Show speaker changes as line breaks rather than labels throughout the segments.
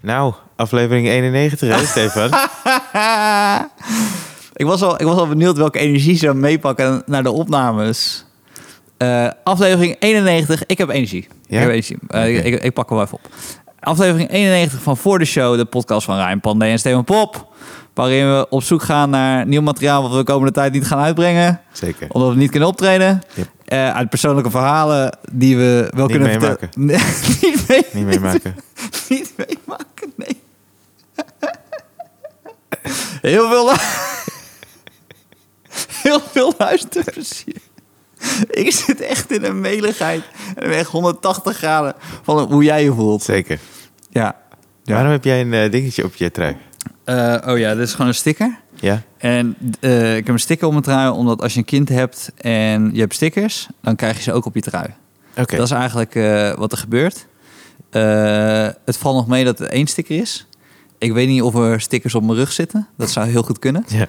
Nou, aflevering 91, hè, Stefan?
ik, was al, ik was al benieuwd welke energie ze meepakken naar de opnames. Eh, aflevering 91, ik heb energie.
Ja?
Ik, heb energie. Eh, ik, ik, ik pak hem wel even op. Aflevering 91 van Voor de Show, de podcast van Rijn Pandey en Steven Pop. Waarin we op zoek gaan naar nieuw materiaal wat we de komende tijd niet gaan uitbrengen.
Zeker.
Omdat we niet kunnen optreden.
Yep.
Eh, uit persoonlijke verhalen die we wel
Niet
kunnen
meemaken.
vertellen. Nee, niet mee-
Niet meemaken.
niet meemaken, nee. Heel veel, lu- heel veel luisterplezier. Ik zit echt in een meligheid. En ik ben echt 180 graden van hoe jij je voelt.
Zeker.
Ja.
Waarom heb jij een eh, dingetje op je trui?
Eh, oh ja, dit is gewoon een sticker.
Ja?
En eh, ik heb een sticker op mijn trui, omdat als je een kind hebt en je hebt stickers, dan krijg je ze ook op je trui.
Oké.
Dat is eigenlijk eh, wat er gebeurt. Eh, het valt nog mee dat het één sticker is. Ik weet niet of er stickers op mijn rug zitten. Dat zou heel goed kunnen.
Ja.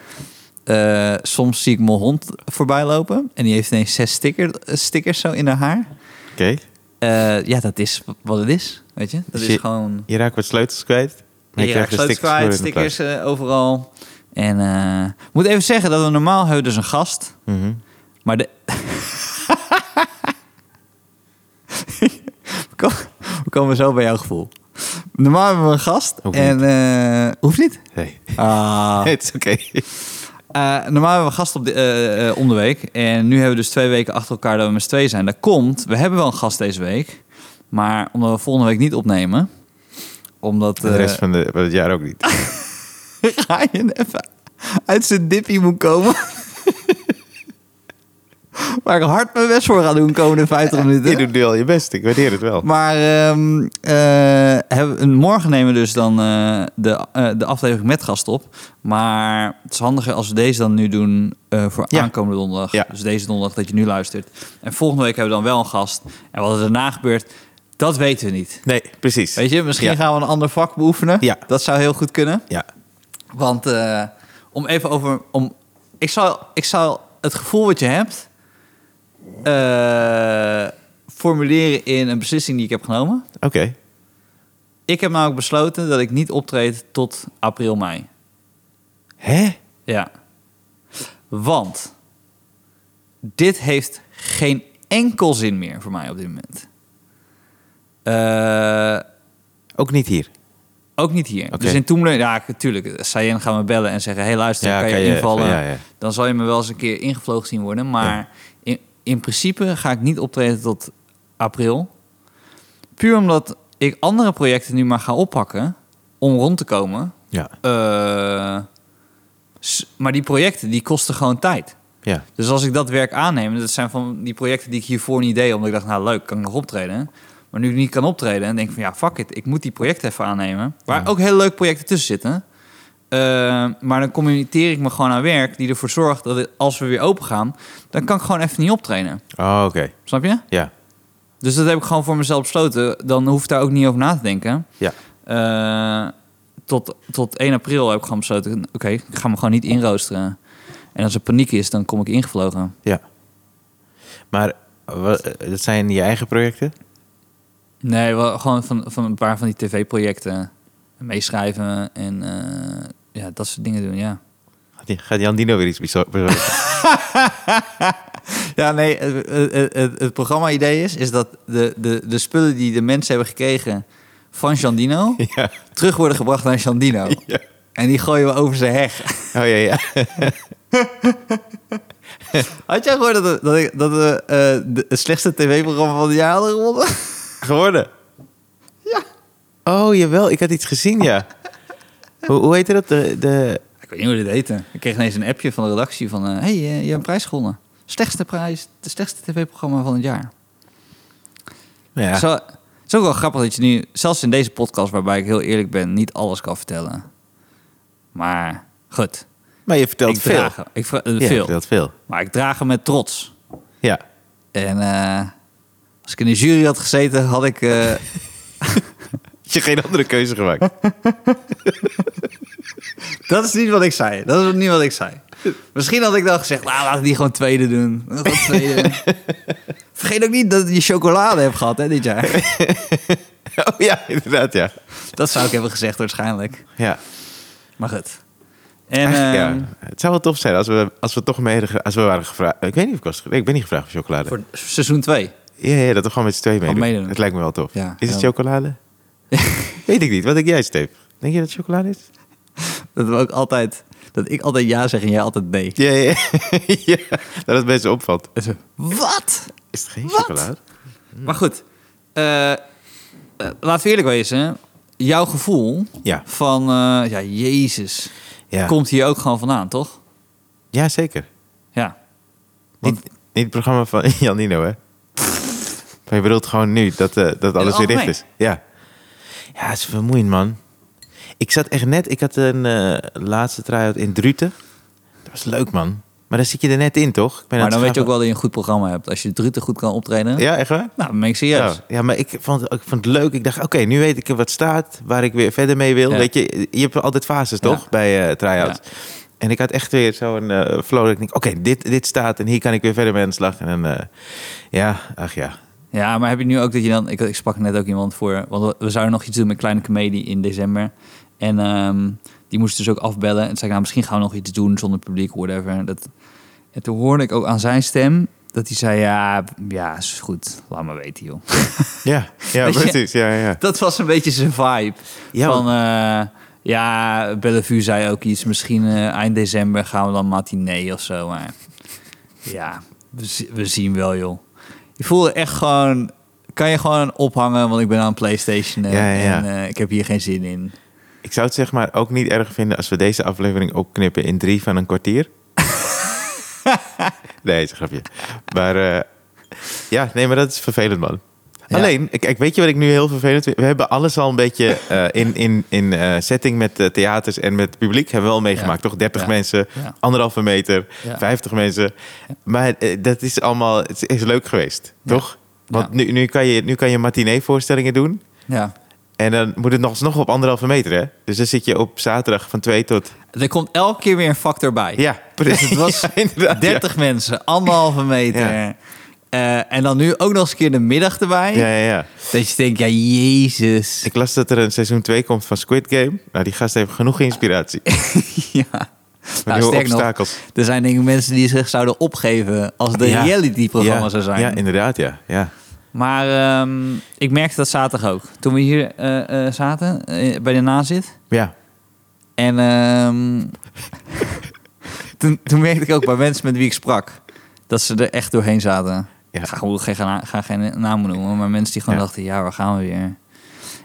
Eh, soms zie ik mijn hond voorbij lopen. En die heeft ineens zes sticker, stickers zo in haar haar.
Oké.
Eh, ja, dat is wat het is. Weet je? Dat
Dus
is
je-
gewoon...
Je raakt wat sleutels kwijt. maar
Je raakt
de
sleutels
voor in
kwijt,
de
stickers eh, overal. En eh, ik moet even zeggen dat we normaal hebben we dus een gast.
plaats. Mhm.
Maar de... we, komen, we komen zo bij jouw gevoel. Normaal hebben we een gast.
Hoeft
en eh, hoeft niet.
Nee,
Ah.
het is oké.
Eh, normaal hebben we een gast op de, eh, eh, om de week. En nu hebben we dus twee weken achter elkaar dat we met z'n tweeën zijn. Dat komt, we hebben wel een gast deze week. Maar omdat we volgende week niet opnemen. Omdat... eh,
De rest van, de, van het jaar ook niet.
Ga je even uit zijn dippie moet komen. Waar ik hard mijn best voor ga doen komende 50 minuten.
Je doet nu al je best, ik waardeer het wel.
Maar ehm, eh, hebben- morgen nemen we dus dan eh, de, eh, de aflevering met gast op. Maar het is handiger als we deze dan nu doen eh, voor
Ja.
aankomende donderdag.
Ja.
Dus deze donderdag dat je nu luistert. En volgende week hebben we dan wel een gast. En wat er daarna gebeurt, dat weten we niet.
Nee, precies.
Weet je, misschien
Ja.
gaan we een ander vak beoefenen.
Ja.
Dat zou heel goed kunnen.
Ja.
Want eh, om even over. Om, ik, zou, ik zou het gevoel wat je hebt. eh, formuleren in een beslissing die ik heb genomen.
Oké.
Ik heb namelijk besloten dat ik niet optreed tot april, mei.
Hè?
Ja. Want. Dit heeft geen enkel zin meer voor mij op dit moment. Eh.
Ook niet hier.
Ook niet hier.
Oké.
Dus in Toemler, ja, natuurlijk. Sayen gaan me bellen en zeggen: hey, luister,
Ja,
kan,
kan
je
je-
invallen?
ja, ja.
Dan zal je me wel eens een keer ingevlogen zien worden. Maar in, in principe ga ik niet optreden tot april. Puur omdat ik andere projecten nu maar ga oppakken om rond te komen.
Ja.
Eh, s- maar die projecten die kosten gewoon tijd.
Ja.
Dus als ik dat werk aanneem, dat zijn van die projecten die ik hiervoor niet deed, omdat ik dacht, nou leuk, kan ik nog optreden. Maar nu ik niet kan optreden, dan denk ik van ja, fuck it, ik moet die projecten even aannemen. Waar ook hele leuke projecten tussen zitten. Eh, maar dan communiceer ik me gewoon aan werk die ervoor zorgt dat het- als we weer open gaan, dan kan ik gewoon even niet optreden.
Oh, oké.
Snap je?
Ja.
Dus dat heb ik gewoon voor mezelf besloten. Dan hoef ik daar ook niet over na te denken.
Ja.
Eh, tot, tot 1 april heb ik gewoon besloten, oké, ik ga me gewoon niet inroosteren. En als er paniek is, dan kom ik ingevlogen.
Ja. Maar wa- eh, dat zijn je eigen projecten?
Nee, wel gewoon van, van een paar van die tv-projecten. Meeschrijven en eh, ja, dat soort dingen doen, ja.
Gaat die- Gaat Jan Dino weer iets bizar? bezorgen?
Ja, nee, het, het, het, het programma-idee is, is dat de, de, de spullen die de mensen hebben gekregen van Jandino...
ja.
terug worden gebracht naar Jandino.
ja.
En die gooien we over zijn heg.
Oh ja, ja.
Had jij gehoord dat, we- dat, ik, dat we eh, de, het slechtste tv-programma van het jaar hadden gewonnen?
Geworden.
Ja.
Oh, jawel. Ik had iets gezien, ja. hoe, hoe heette dat? De, de...
Ik weet niet hoe dit heette. Ik kreeg ineens een appje van de redactie van... eh, hey, eh, je hebt een prijs gewonnen. Slechtste prijs, het slechtste tv-programma van het jaar.
Ja.
Zo, het is ook wel grappig dat je nu, zelfs in deze podcast, waarbij ik heel eerlijk ben, niet alles kan vertellen. Maar goed,
Maar je vertelt
ik
veel.
draag hem. Ik vra- eh,
Ja, je
veel.
vertelt veel.
Maar ik draag hem met trots.
Ja.
En eh, als ik in de jury had gezeten, had ik. eh,
Had je geen andere keuze gemaakt?
dat is niet wat ik zei. Dat is niet wat ik zei. Misschien had ik dan gezegd, nou, laten we die gewoon tweede doen. Gewoon tweede. Vergeet ook niet dat je chocolade hebt gehad hè, dit jaar.
Oh ja, inderdaad, ja.
Dat zou ik hebben gezegd waarschijnlijk.
ja.
Maar goed. En
Eigenlijk,
ehm,
ja. Het zou wel tof zijn als we, als we toch mee hadden ge- als we waren gevraagd. Ik weet niet of ik was ge- Ik ben niet gevraagd voor chocolade.
voor seizoen 2.
Ja, ja, dat we gewoon met z'n tweeën meedoen.
meedoen.
Het lijkt me wel tof.
Ja,
is het
ja.
chocolade? weet ik niet. Wat denk jij, Steve? Denk je dat het chocolade is?
Dat, we ook altijd, dat ik altijd ja zeg en jij altijd nee.
Ja, ja, ja. Ja, dat het mensen opvalt.
En zo, Wat?
Is het geen
Wat?
chocolade?
Maar goed. eh, eh, laten we eerlijk wezen. Jouw gevoel
Ja.
van... eh, ja, jezus.
Ja,
Komt hier ook gewoon vandaan, toch?
ja zeker.
Ja.
Niet,
Want-
niet het programma van Janino, hè? Maar je bedoelt gewoon nu dat, eh, dat alles weer dicht
algemeen.
is. Ja. Ja, het is vermoeiend, man. Ik zat echt net... Ik had een eh, laatste try-out in Druten. Dat was leuk, man. Maar dan zit je er net in, toch? Ik ben
Maar
aan
dan
het
weet je ook
schaven.
wel dat je een goed programma hebt. Als je Druten goed kan optreden...
Ja, echt waar?
Nou, dan ben ik serieus.
Ja, ja, maar ik vond, ik vond het leuk. Ik dacht, oké, nu weet ik wat staat, waar ik weer verder mee wil.
Ja.
Weet je, je hebt altijd fases, toch?
Ja.
Bij eh try-outs. En ik had echt weer zo'n eh flow dat ik denk, oké, dit, dit staat en hier kan ik weer verder mee aan de slag. En dan, eh, ja, ach ja.
Ja, maar heb je nu ook dat je dan... Ik, ik sprak net ook iemand voor... Want we- we zouden nog iets doen met Kleine Comedie in december. En ehm, die moest dus ook afbellen. En toen zei ik, nou, misschien gaan we nog iets doen zonder publiek, whatever. Dat, en toen hoorde ik ook aan zijn stem dat hij zei... Ja, ja, is goed. Laat maar weten, joh.
Ja, ja
Weet je-
precies. Ja, ja.
Dat was een beetje zijn vibe.
Ja,
van, eh, ja, Bellevue zei ook iets. Misschien eh, eind december gaan we dan matinee of zo. Maar ja, we, zi- we zien wel, joh. Je voelde echt gewoon... Kan je gewoon ophangen, want ik ben aan Playstation eh,
Ja, ja, ja.
en eh, ik heb hier geen zin in.
Ik zou het zeg maar ook niet erg vinden als we deze aflevering opknippen in drie van een kwartier. nee, is een grapje. Maar eh, ja, nee, maar dat is vervelend, man.
Ja.
Alleen, kijk, weet je wat ik nu heel vervelend vind? We hebben alles al een beetje eh, in, in, in eh, setting met eh, theaters en met het publiek hebben we al meegemaakt,
Ja.
toch? 30
Ja.
mensen,
Ja.
anderhalve meter,
Ja.
50 mensen. Maar eh, dat is allemaal, het is leuk geweest, toch? Want
Ja.
Nu, nu kan je, nu kan je matinee voorstellingen doen.
Ja.
En dan moet het nog alsnog op anderhalve meter, hè? Dus dan zit je op zaterdag van twee tot...
Er komt elke keer weer een factor bij.
Ja,
Dus
precies.
het was
Ja, inderdaad,
30 mensen, anderhalve meter.
Ja.
Eh, en dan nu ook nog eens een keer de middag erbij.
Ja, ja, ja. ja.
Dat je denkt, ja, jezus.
Ik las dat er een seizoen 2 komt van Squid Game. Nou, die gast heeft genoeg inspiratie.
ja.
Met
Nou,
nieuwe
sterk nog,
obstakels.
er zijn denk ik mensen die zich zouden opgeven als de
Ja.
reality-programma
Ja,
zou zijn.
Ja, inderdaad, ja. ja.
maar ehm, ik merkte dat zaterdag ook. Toen we hier eh, eh, zaten, eh, bij de nazit.
Ja,
En ehm, toen, toen merkte ik ook bij mensen met wie ik sprak... dat ze er echt doorheen zaten.
Ja.
Ik ga, gewoon geen, ga, ga geen namen noemen, maar mensen die gewoon
Ja.
dachten... ja, waar gaan we weer?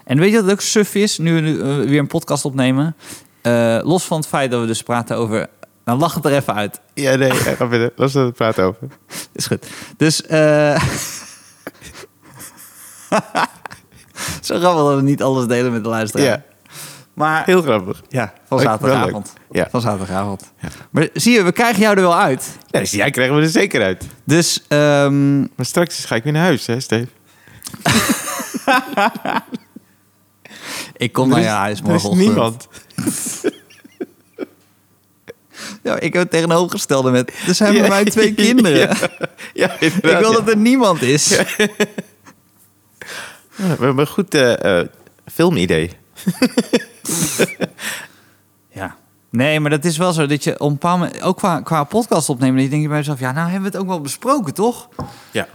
En weet je wat ook suf is, nu we nu, eh, weer een podcast opnemen? Eh, los van het feit dat we dus praten over... nou, lach het er even uit.
ja nee, ja, ga verder. Laten we het praten over.
Is goed. Dus. eh Zo grappig dat we niet alles delen met de luisteraar.
Ja,
Maar
heel grappig. Ja,
van
leuk, wel
zaterdagavond.
leuk. Ja.
Van zaterdagavond.
Ja.
Maar zie je, we krijgen jou er wel uit.
Nee, dus jij krijgen we er zeker uit.
Dus ehm,
Maar straks ga ik weer naar huis, hè, Steve?
ik kom naar je huis
Er is
morgen.
niemand.
Ja, ik heb het tegenovergestelde met. Er zijn bij mij twee kinderen.
Ja, ja inderdaad,
ik wil
ja.
dat er niemand is.
Ja, we hebben een goed eh, eh, filmidee.
Ja. Nee, maar dat is wel zo dat je op een bepaald moment, ook qua, qua podcast opnemen, dat je denkt bij jezelf, ja, nou hebben we het ook wel besproken, toch?
Ja.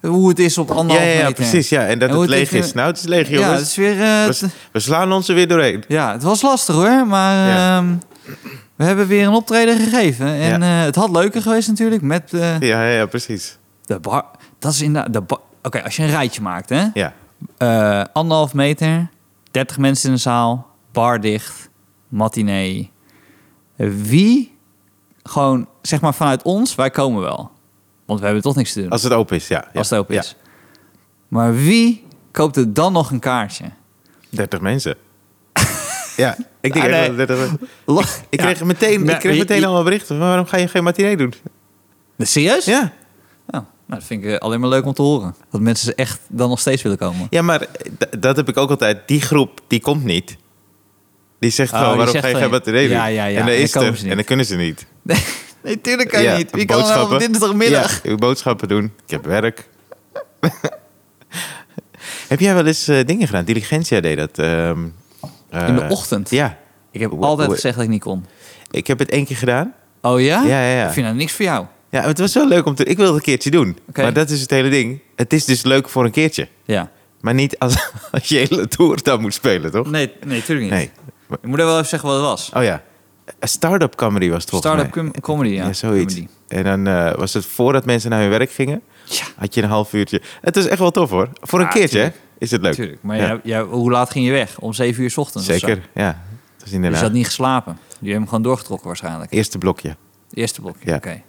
Hoe het is op
Ja,
anderhalf
ja, ja,
meter.
precies. Ja. En dat
En hoe
het
het
leeg
is,
is.
eh,
Nou, het is leeg,
Ja,
jongens.
het is weer. eh,
we, s- we slaan ons er weer doorheen.
ja, het was lastig hoor, maar
Ja.
ehm, we hebben weer een optreden gegeven. En eh, het had leuker geweest natuurlijk met eh,
Ja, ja, ja precies.
de bar. Dat is inderdaad de bar. Oké, als je een rijtje maakt, hè?
Ja.
Eh, anderhalf meter, 30 mensen in de zaal, bar dicht, matinee. Wie gewoon, zeg maar vanuit ons, wij komen wel. Want we hebben toch niks te doen
Als het open is, ja. ja.
als het open
Ja,
is. Maar wie koopt er dan nog een kaartje?
30 mensen. ja, ik denk
Ah,
echt
nee.
dat 30 mensen.
Lach-
Ik
Ja.
kreeg meteen,
Nee,
ik kreeg
je-
meteen
je-
allemaal berichten. van, Waarom ga je geen matinee doen?
Serieus?
Ja.
Nou, nou, dat vind ik eh, alleen maar leuk om te horen. Dat mensen ze echt dan nog steeds willen komen.
ja, maar eh, d- dat heb ik ook altijd. Die groep, die komt niet. Die zegt
Oh,
gewoon,
die
waarom
zegt
ga je
van-
geen matinee doen?
Ja, ja,
En
ja. En
dan
dan
is
komen
er.
ze niet.
En dan kunnen ze niet.
Nee, nee tuurlijk kan je
Ja,
niet. Wie kan wel op
boodschappen.
dinsdagmiddag?
Ja, ik moet boodschappen doen. Ik heb werk. Heb jij wel eens eh, dingen gedaan? Diligentia deed dat. ehm, eh,
In de ochtend?
Ja.
Ik heb
Wa-
altijd
wa-
gezegd dat ik niet kon.
Ik heb het één keer gedaan.
Oh ja?
Ja, ja, ja.
Ik vind dat niks voor jou.
Ja, het was wel leuk om te... Ik wilde het een keertje doen.
Oké.
Maar dat is het hele ding. Het is dus leuk voor een keertje.
Ja.
Maar niet als, als je hele tour dan moet spelen, toch?
Nee, nee, tuurlijk niet.
Nee.
Je moet er wel even zeggen wat het was.
Oh ja. Een Start-up comedy was het volgens
Startup
mij.
com- comedy, ja.
Ja, zoiets.
Comedy.
En dan eh, was het voordat mensen naar hun werk gingen,
Ja,
had je een half uurtje. Het is echt wel tof hoor. Voor een
Ja,
keertje
tuurlijk.
hè, is het leuk.
natuurlijk. Maar
Ja.
jij- jij- hoe laat ging je weg? Om 7 uur 's ochtends of zo?
Zeker, ja. Dat is
Dus
inderdaad
je had niet geslapen. Je hebt hem gewoon doorgetrokken waarschijnlijk.
eerste blokje.
Eerste blokje,
Ja.
oké.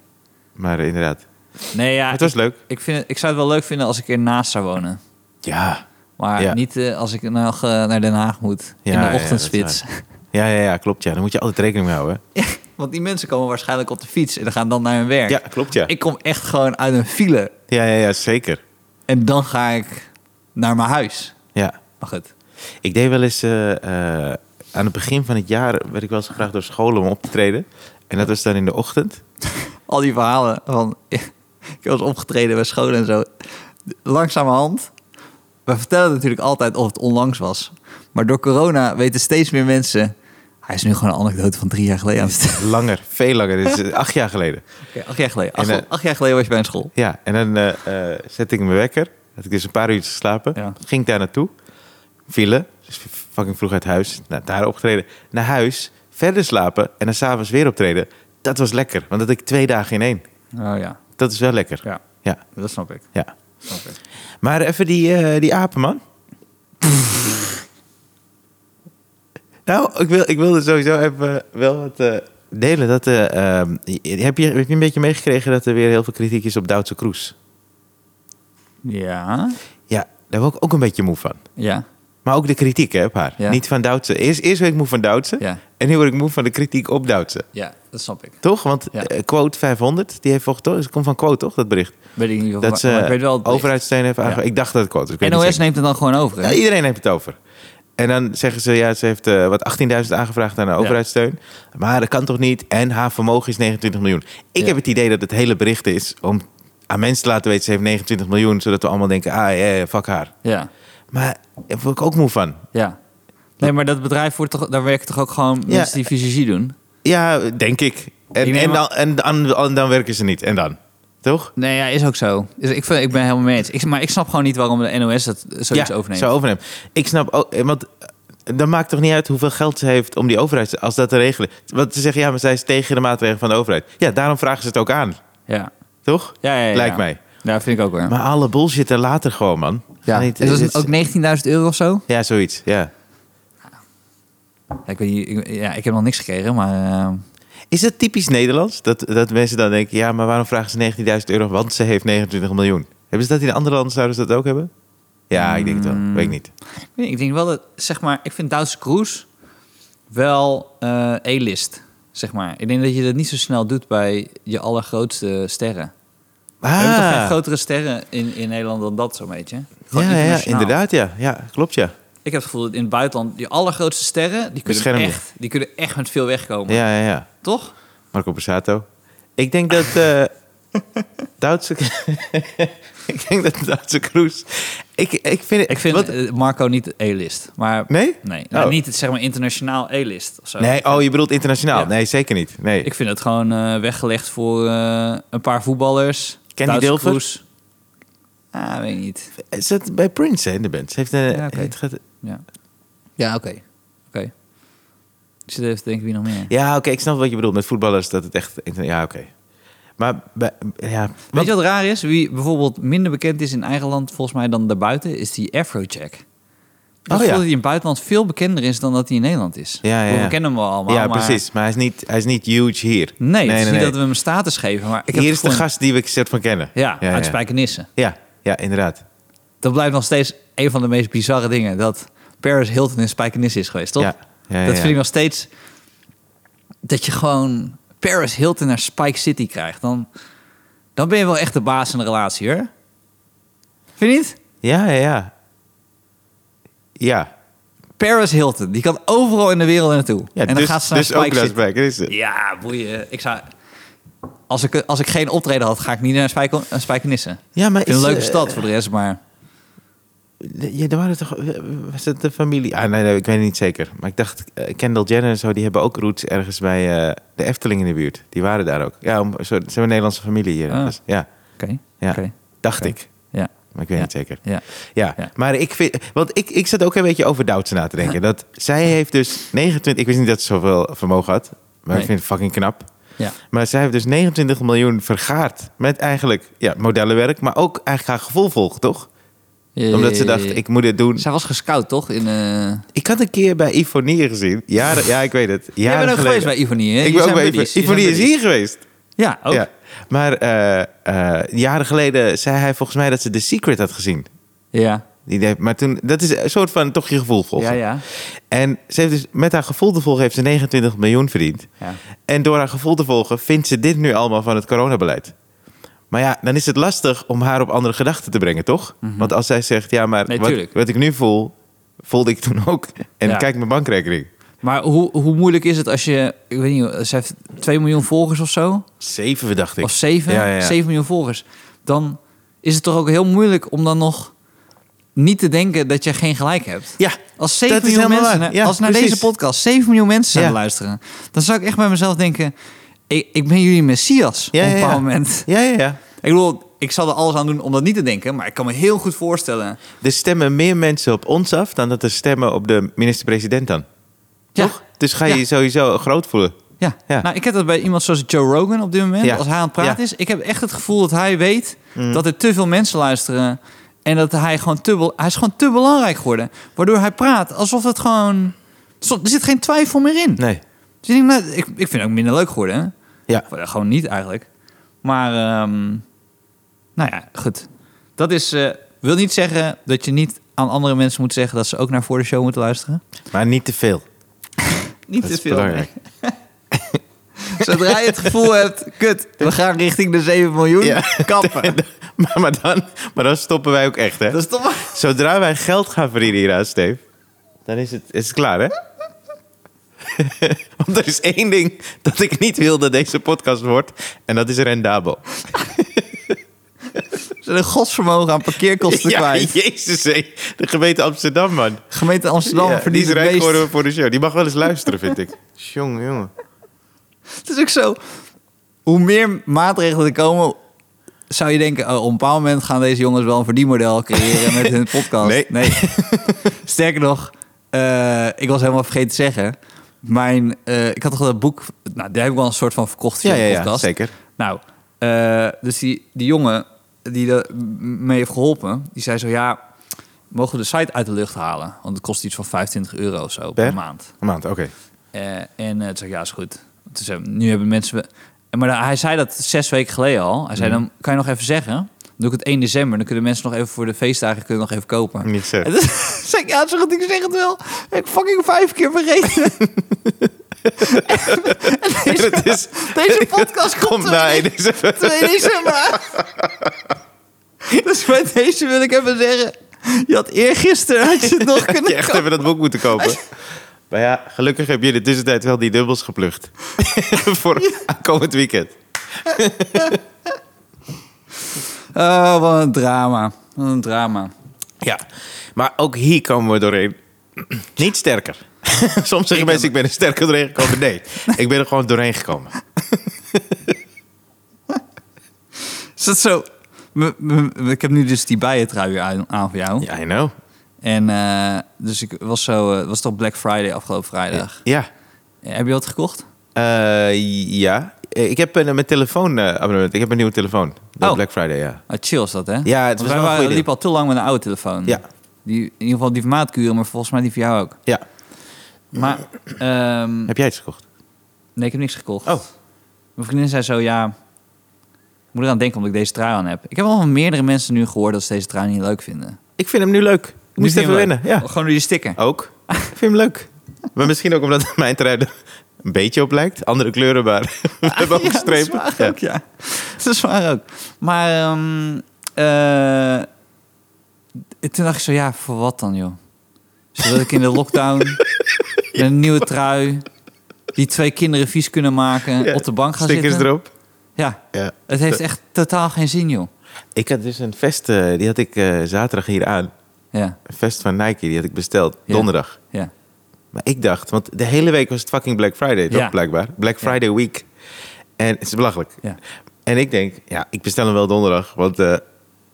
Maar eh, inderdaad,
Nee, ja,
het was
ik,
leuk.
ik, vind het, ik zou het wel leuk vinden als ik ernaast zou wonen.
Ja.
Maar
Ja.
niet eh, als ik nog eh, naar Den Haag moet
Ja, ja,
in
dat
de
is
ochtendspits.
Ja, ja, ja, klopt ja. Daar moet je altijd rekening mee houden. hè.
Want die mensen komen waarschijnlijk op de fiets en dan gaan dan naar hun werk.
Ja, klopt ja.
Ik kom echt gewoon uit een file
Ja, ja, ja, zeker.
en dan ga ik naar mijn huis.
Ja.
Maar goed.
Ik deed wel eens eh, eh, aan het begin van het jaar werd ik wel eens gevraagd door scholen om op te treden. En dat was dan in de ochtend.
Al die verhalen van... ik was opgetreden bij scholen en zo. Langzamerhand. We vertellen natuurlijk altijd of het onlangs was. Maar door corona weten steeds meer mensen... Hij is nu gewoon een anekdote van drie jaar geleden aan het vertellen.
Langer, veel langer. Dit is eh, acht jaar geleden.
Oké, acht jaar geleden.
En,
Acht,
eh,
acht jaar geleden was je bij een school.
Ja, en dan eh, eh, zette ik mijn wekker. Had ik dus een paar uurtjes geslapen.
Ja.
Ging ik daar naartoe. File. Dus fucking vroeg uit huis. Nou, daar opgetreden. Naar huis. Verder slapen. En dan s'avonds weer optreden. Dat was lekker. Want dat had ik twee dagen in één.
Oh ja,
Dat is wel lekker.
ja.
Ja.
Dat snap ik.
ja.
Snap ik.
Maar even die, eh, die apen, man. nou, ik, wil, ik wilde sowieso even wel wat eh, delen. Dat, eh, ehm, heb, je, heb je een beetje meegekregen dat er weer heel veel kritiek is op Duitse Kroes?
Ja.
Ja, daar word ik ook een beetje moe van.
Ja.
Maar ook de kritiek hè, op haar.
Ja.
Niet van Duitse. Eerst, eerst werd ik moe van Duitse.
Ja.
En nu word ik moe van de kritiek op Duitse.
Ja, dat snap ik.
Toch? Want
Ja.
eh, Quote 500, die heeft volgens toch? Dus Het komt van Quote, toch? Dat bericht.
Weet ik niet of
Dat ze
maar ik weet wel het bericht.
overheidssteun heeft aange-
Ja.
Ik dacht dat het Quote was. Ik weet niet
NOS
zeker.
neemt het dan gewoon over. nou, hè?
Ja, iedereen heeft het over. En dan zeggen ze, ja, ze heeft eh, wat 18.000 aangevraagd aan de overheidssteun. Maar dat kan toch niet? En haar vermogen is 29 miljoen. Ik
Ja.
heb het idee dat het hele bericht is om aan mensen te laten weten... ze heeft 29 miljoen, zodat we allemaal denken, ah, ja, fuck haar.
Ja.
Maar daar word ik ook moe van.
Ja. Nee, maar dat bedrijf wordt toch, daar werken toch ook gewoon mensen die fysiologie doen?
Ja, denk ik. En,
Ik neem
en, dan,
aan-
en, dan, en dan werken ze niet. En dan? Toch?
Nee, ja, is ook zo. Dus ik, vind, ik ben helemaal mee eens. Ik, maar ik snap gewoon niet waarom de NOS dat zoiets
ja,
overneemt.
Zou overnemen. Ik snap ook... eh, Want eh, dan maakt toch niet uit hoeveel geld ze heeft om die overheid... als dat te regelen. Want ze zeggen, ja, maar zij is tegen de maatregelen van de overheid. Ja, daarom vragen ze het ook aan.
Ja.
Toch?
Ja, ja, ja.
Lijkt mij.
Ja, vind ik ook hoor.
Maar alle bullshit er later gewoon, man.
ja.
Ga niet-
en dat
dit-
is ook 19.000 euro of zo?
Ja, zoiets. Ja.
Ja, ik, weet niet, ik- ja, ik heb nog niks gekregen, maar... eh,
Is dat typisch Nederlands? Dat, dat mensen dan denken, ja, maar waarom vragen ze 19.000 euro? Want ze heeft 29 miljoen. Hebben ze dat in andere landen? Zouden ze dat ook hebben? Ja, ik denk het
Hmm.
wel. Weet ik niet.
ik, weet niet, ik denk wel dat, zeg maar, ik vind Duitse Cruise wel eh A-list, zeg maar. Ik denk dat je dat niet zo snel doet bij je allergrootste sterren. We hebben toch geen grotere sterren in, in Nederland dan dat zo'n beetje? Gewoon
Ah. Ja, ja,
internationaal.
inderdaad, ja. Ja, klopt, ja.
Ik heb het gevoel dat in het buitenland die allergrootste sterren... die kunnen,
Beschermd.
echt, die kunnen echt met veel wegkomen.
Ja, ja, ja.
Toch?
Marco Borsato. Ik denk dat... eh, Duitse... ik denk dat Duitse Kroes... Ik, ik vind...
Ik vind
Wat?
eh, Marco niet A-list. Maar,
Nee?
Nee, nou,
Oh.
niet het, zeg maar internationaal A-list of zo.
Nee, oh, je bedoelt internationaal.
Ja.
Nee, zeker niet. Nee.
Ik vind het gewoon eh, weggelegd voor eh, een paar voetballers.
Ken die
Duitse
Dilfer?
Kroes. Ah, weet ik niet.
Het zit bij Prince hè, in de band. Ze heeft een...
Ja, oké.
het gaat-
Ja, ja oké. Oké. Ik zit even te denken wie nog meer.
Ja, oké, ik snap wat je bedoelt met voetballers. Dat het echt... Ja, oké. Maar... bij- Ja,
Weet
want-
je wat raar is? Wie bijvoorbeeld minder bekend is in eigen land, volgens mij dan daarbuiten, is die Afrojack. Ik
Oh,
oh,
ja.
dat hij in het buitenland veel bekender is dan dat hij in Nederland is.
Ja, ja,
Ik bedoel,
ja.
We kennen hem wel allemaal.
ja,
maar...
precies. Maar hij is niet, hij is niet huge hier.
Nee, het is niet dat we hem een status geven. Maar ik heb
Hier
het
is de
gevoel-
gast die we soort van kennen.
Ja,
ja,
uit
ja.
Spijkenisse.
ja, ja, inderdaad.
Dat blijft nog steeds een van de meest bizarre dingen. Dat Paris Hilton in Spijkenisse is geweest, toch?
Ja, ja, ja,
dat
ja.
vind ik nog steeds... Dat je gewoon Paris Hilton naar Spike City krijgt. Dan, dan ben je wel echt de baas in de relatie, hoor. Vind je niet?
Ja, ja, ja. Ja.
Paris Hilton. Die kan overal in de wereld naartoe.
ja
en dan
dus,
gaat ze naar
dus
Spike
ook
City.
naar Spike. Dit is het.
Ja, boeien. Ik zou... Als ik, als ik geen optreden had, ga ik niet naar Spijken- naar Spijkenisse.
Ja, maar
Ik vind het
is,
een leuke
eh,
stad voor de rest, maar...
Ja, er waren toch... Was het de familie? Ah, nee, nee, ik weet het niet zeker. Maar ik dacht, eh, Kendall Jenner en zo, die hebben ook roots ergens bij eh, de Efteling in de buurt. Die waren daar ook. Ja, om, zo, ze hebben een Nederlandse familie hier.
Ah.
Dus, ja,
Oké,
ja.
oké.
dacht
Oké.
ik.
Ja.
Maar ik weet niet zeker.
Ja.
Ja,
Ja.
maar ik vind... Want ik, ik zat ook een beetje over Doutzen na te denken. Dat zij heeft dus 29... Ik wist niet dat ze zoveel vermogen had. Maar ik
Nee.
vind het fucking knap.
Ja.
Maar zij heeft dus 29 miljoen vergaard. Met eigenlijk ja, modellenwerk. Maar ook eigenlijk haar gevoel volgt, toch?
Ja,
Omdat
ja,
ze
ja,
dacht,
ja.
ik moet dit doen.
Zij was gescout, toch? In, eh,
Ik had een keer bij Ifonie gezien. Jaren, ja, ik weet het. Jaren
Jij bent ook
geleden.
geweest bij Ivonie,
Ik
hè? Je
ben ook
zijn
bij
buddies,
Ifonie.
je
Ifonie
zijn
is
buddies.
hier geweest.
Ja, ook.
Ja. Maar eh, eh, jaren geleden zei hij volgens mij dat ze The Secret had gezien.
Ja.
Die deed, maar toen, dat is een soort van toch je gevoel volgen.
Ja, ja.
En ze heeft dus, met haar gevoel te volgen heeft ze 29 miljoen verdiend.
Ja.
En door haar gevoel te volgen vindt ze dit nu allemaal van het coronabeleid. Maar ja, dan is het lastig om haar op andere gedachten te brengen, toch? Want als zij zegt, ja, maar
Mhm. Nee,
wat,
tuurlijk.
wat ik nu voel, voelde ik toen ook. En
Ja.
kijk mijn bankrekening.
Maar hoe, hoe moeilijk is het als je... Ik weet niet, ze heeft 2 miljoen volgers of zo.
Zeven, dacht ik.
Of 7.
Ja, ja, ja.
7 miljoen volgers. Dan is het toch ook heel moeilijk om dan nog niet te denken dat je geen gelijk hebt.
Ja,
Als 7
Dat is
miljoen
helemaal
mensen,
waar. Ja,
als naar
precies.
deze podcast 7 miljoen mensen zouden
Ja.
luisteren, dan zou ik echt bij mezelf denken: ik, ik ben jullie messias
Ja,
op een
ja,
bepaald
ja.
moment.
Ja, ja, ja.
Ik bedoel, ik zal er alles aan doen om dat niet te denken, maar ik kan me heel goed voorstellen.
Er stemmen meer mensen op ons af dan dat er stemmen op de minister-president dan.
Ja.
Toch? Dus ga je
Ja.
je sowieso groot voelen.
Ja.
Ja.
nou ik heb dat bij iemand zoals Joe Rogan op dit moment,
Ja.
als hij aan het praten
Ja. Mm.
is. Ik heb echt het gevoel dat hij weet dat er te veel mensen luisteren en dat hij gewoon te, bel- hij is gewoon te belangrijk geworden. Waardoor hij praat alsof het gewoon, er zit geen twijfel meer in.
Nee.
Dus ik, denk, nou, ik, ik vind het ook minder leuk geworden. Hè?
Ja.
Of, eh, Gewoon niet eigenlijk. Maar, ehm, nou ja, goed. Dat is, eh, wil niet zeggen dat je niet aan andere mensen moet zeggen dat ze ook naar voor de show moeten luisteren.
Maar niet te veel.
Niet
Dat
te
is
veel.
belangrijk.
nee. Zodra je het gevoel hebt, kut, we gaan richting de 7 miljoen,
Ja.
kappen.
Maar, maar, dan, maar dan stoppen wij ook echt, hè?
Dat is toch maar...
Zodra wij geld gaan verdienen hieraan, Steve, dan is het, is het klaar, hè? Want er is één ding dat ik niet wil dat deze podcast wordt. En dat is rendabel.
Ze zijn een godsvermogen aan parkeerkosten
Ja,
kwijt.
jezus, hé. de gemeente Amsterdam, man.
Gemeente Amsterdam
Ja, die
verdient
is
het
rijk
meest.
geworden voor de show. Die mag wel eens luisteren, vind ik. Jong, jongen.
Het is ook zo. Hoe meer maatregelen er komen, zou je denken: oh, op een bepaald moment gaan deze jongens wel een verdienmodel creëren met hun podcast.
Nee.
Sterker nog, eh, ik was helemaal vergeten te zeggen. Mijn, eh, ik had toch wel dat boek, nou, daar heb ik wel een soort van verkocht via
Ja, ja,
de
ja,
podcast.
zeker.
Nou, eh, dus die, die jongen die er mee heeft geholpen, die zei zo: ja, mogen we de site uit de lucht halen? Want het kost iets van 25 euro of zo per,
Per?
maand.
Een maand, oké.
Eh, en het toen zei ik, ja, is goed. Toen zei, nu hebben mensen... we- En Maar hij zei dat zes weken geleden al. Hij zei, dan kan je nog even zeggen. Dan doe ik het 1 december. Dan kunnen mensen nog even voor de feestdagen kunnen nog even kopen.
Niet zo.
En toen zei ik, ja, het is goed, ik zeg het wel. Ik fucking vijf keer vergeten. En deze,
Het is-
deze podcast komt,
Kom
er
nou,
niet.
dit is-
2 december. dus bij deze wil ik even zeggen... Je had eergisteren had je het nog kunnen
Had je echt
kopen.
even dat boek moeten kopen. Maar ja, gelukkig heb je in de tussentijd wel die dubbels geplukt. Voor komend weekend.
Oh, wat een drama. Wat een drama.
Ja, maar ook hier komen we doorheen. Niet sterker. Soms zeggen mensen, ik ben er sterker doorheen gekomen. Nee, ik ben er gewoon doorheen gekomen.
Is dat zo? M- m- ik heb nu dus die bijentrui weer aan, aan voor jou.
Ja, I know.
En eh, dus ik was zo, eh, was toch Black Friday afgelopen vrijdag.
Ja.
Eh, Heb je wat gekocht?
Eh, ja. Eh, Ik heb een, mijn telefoon eh, abonnement. Ik heb een nieuwe telefoon. De
Oh.
Black Friday, ja.
Ah, chill is dat, hè?
Ja, het was
Want
wel
wij
een
waren,
goeie ding.
liepen al te lang met een oude telefoon.
Ja.
Die, in ieder geval die van maatkuren, maar volgens mij die voor jou ook.
Ja.
Maar ehm,
Heb jij iets gekocht?
nee, ik heb niks gekocht.
Oh.
Mijn vriendin zei zo, ja... Ik moet eraan denken omdat ik deze trui aan heb. Ik heb al van meerdere mensen nu gehoord dat ze deze trui niet leuk vinden.
Ik vind hem nu leuk. Ik moest
Nu
even
vind je hem
wennen.
leuk.
Ja.
Gewoon door die sticker.
Ook. Ik vind hem leuk. Maar misschien ook omdat mijn trui er een beetje op lijkt. Andere kleuren, maar we hebben ook
Ja,
strepen.
Dat is waar
Ja.
ook, ja. Dat is waar ook. Maar ehm, eh, toen dacht ik zo, ja, voor wat dan, joh? Zodat ik in de lockdown met een nieuwe trui die twee kinderen vies kunnen maken
Ja.
op de bank gaan
Stickers
zitten.
erop.
Ja,
Ja.
het heeft echt totaal geen zin, joh.
Ik had dus een vest, eh, die had ik eh, zaterdag hier aan.
Ja,
Een vest van Nike, die had ik besteld.
Ja.
Donderdag.
ja.
Maar ik dacht, want de hele week was het fucking Black Friday, toch?
Ja.
Blijkbaar. Black
Ja.
Friday week. En het is belachelijk.
Ja.
En ik denk, ja, ik bestel hem wel donderdag. Want eh,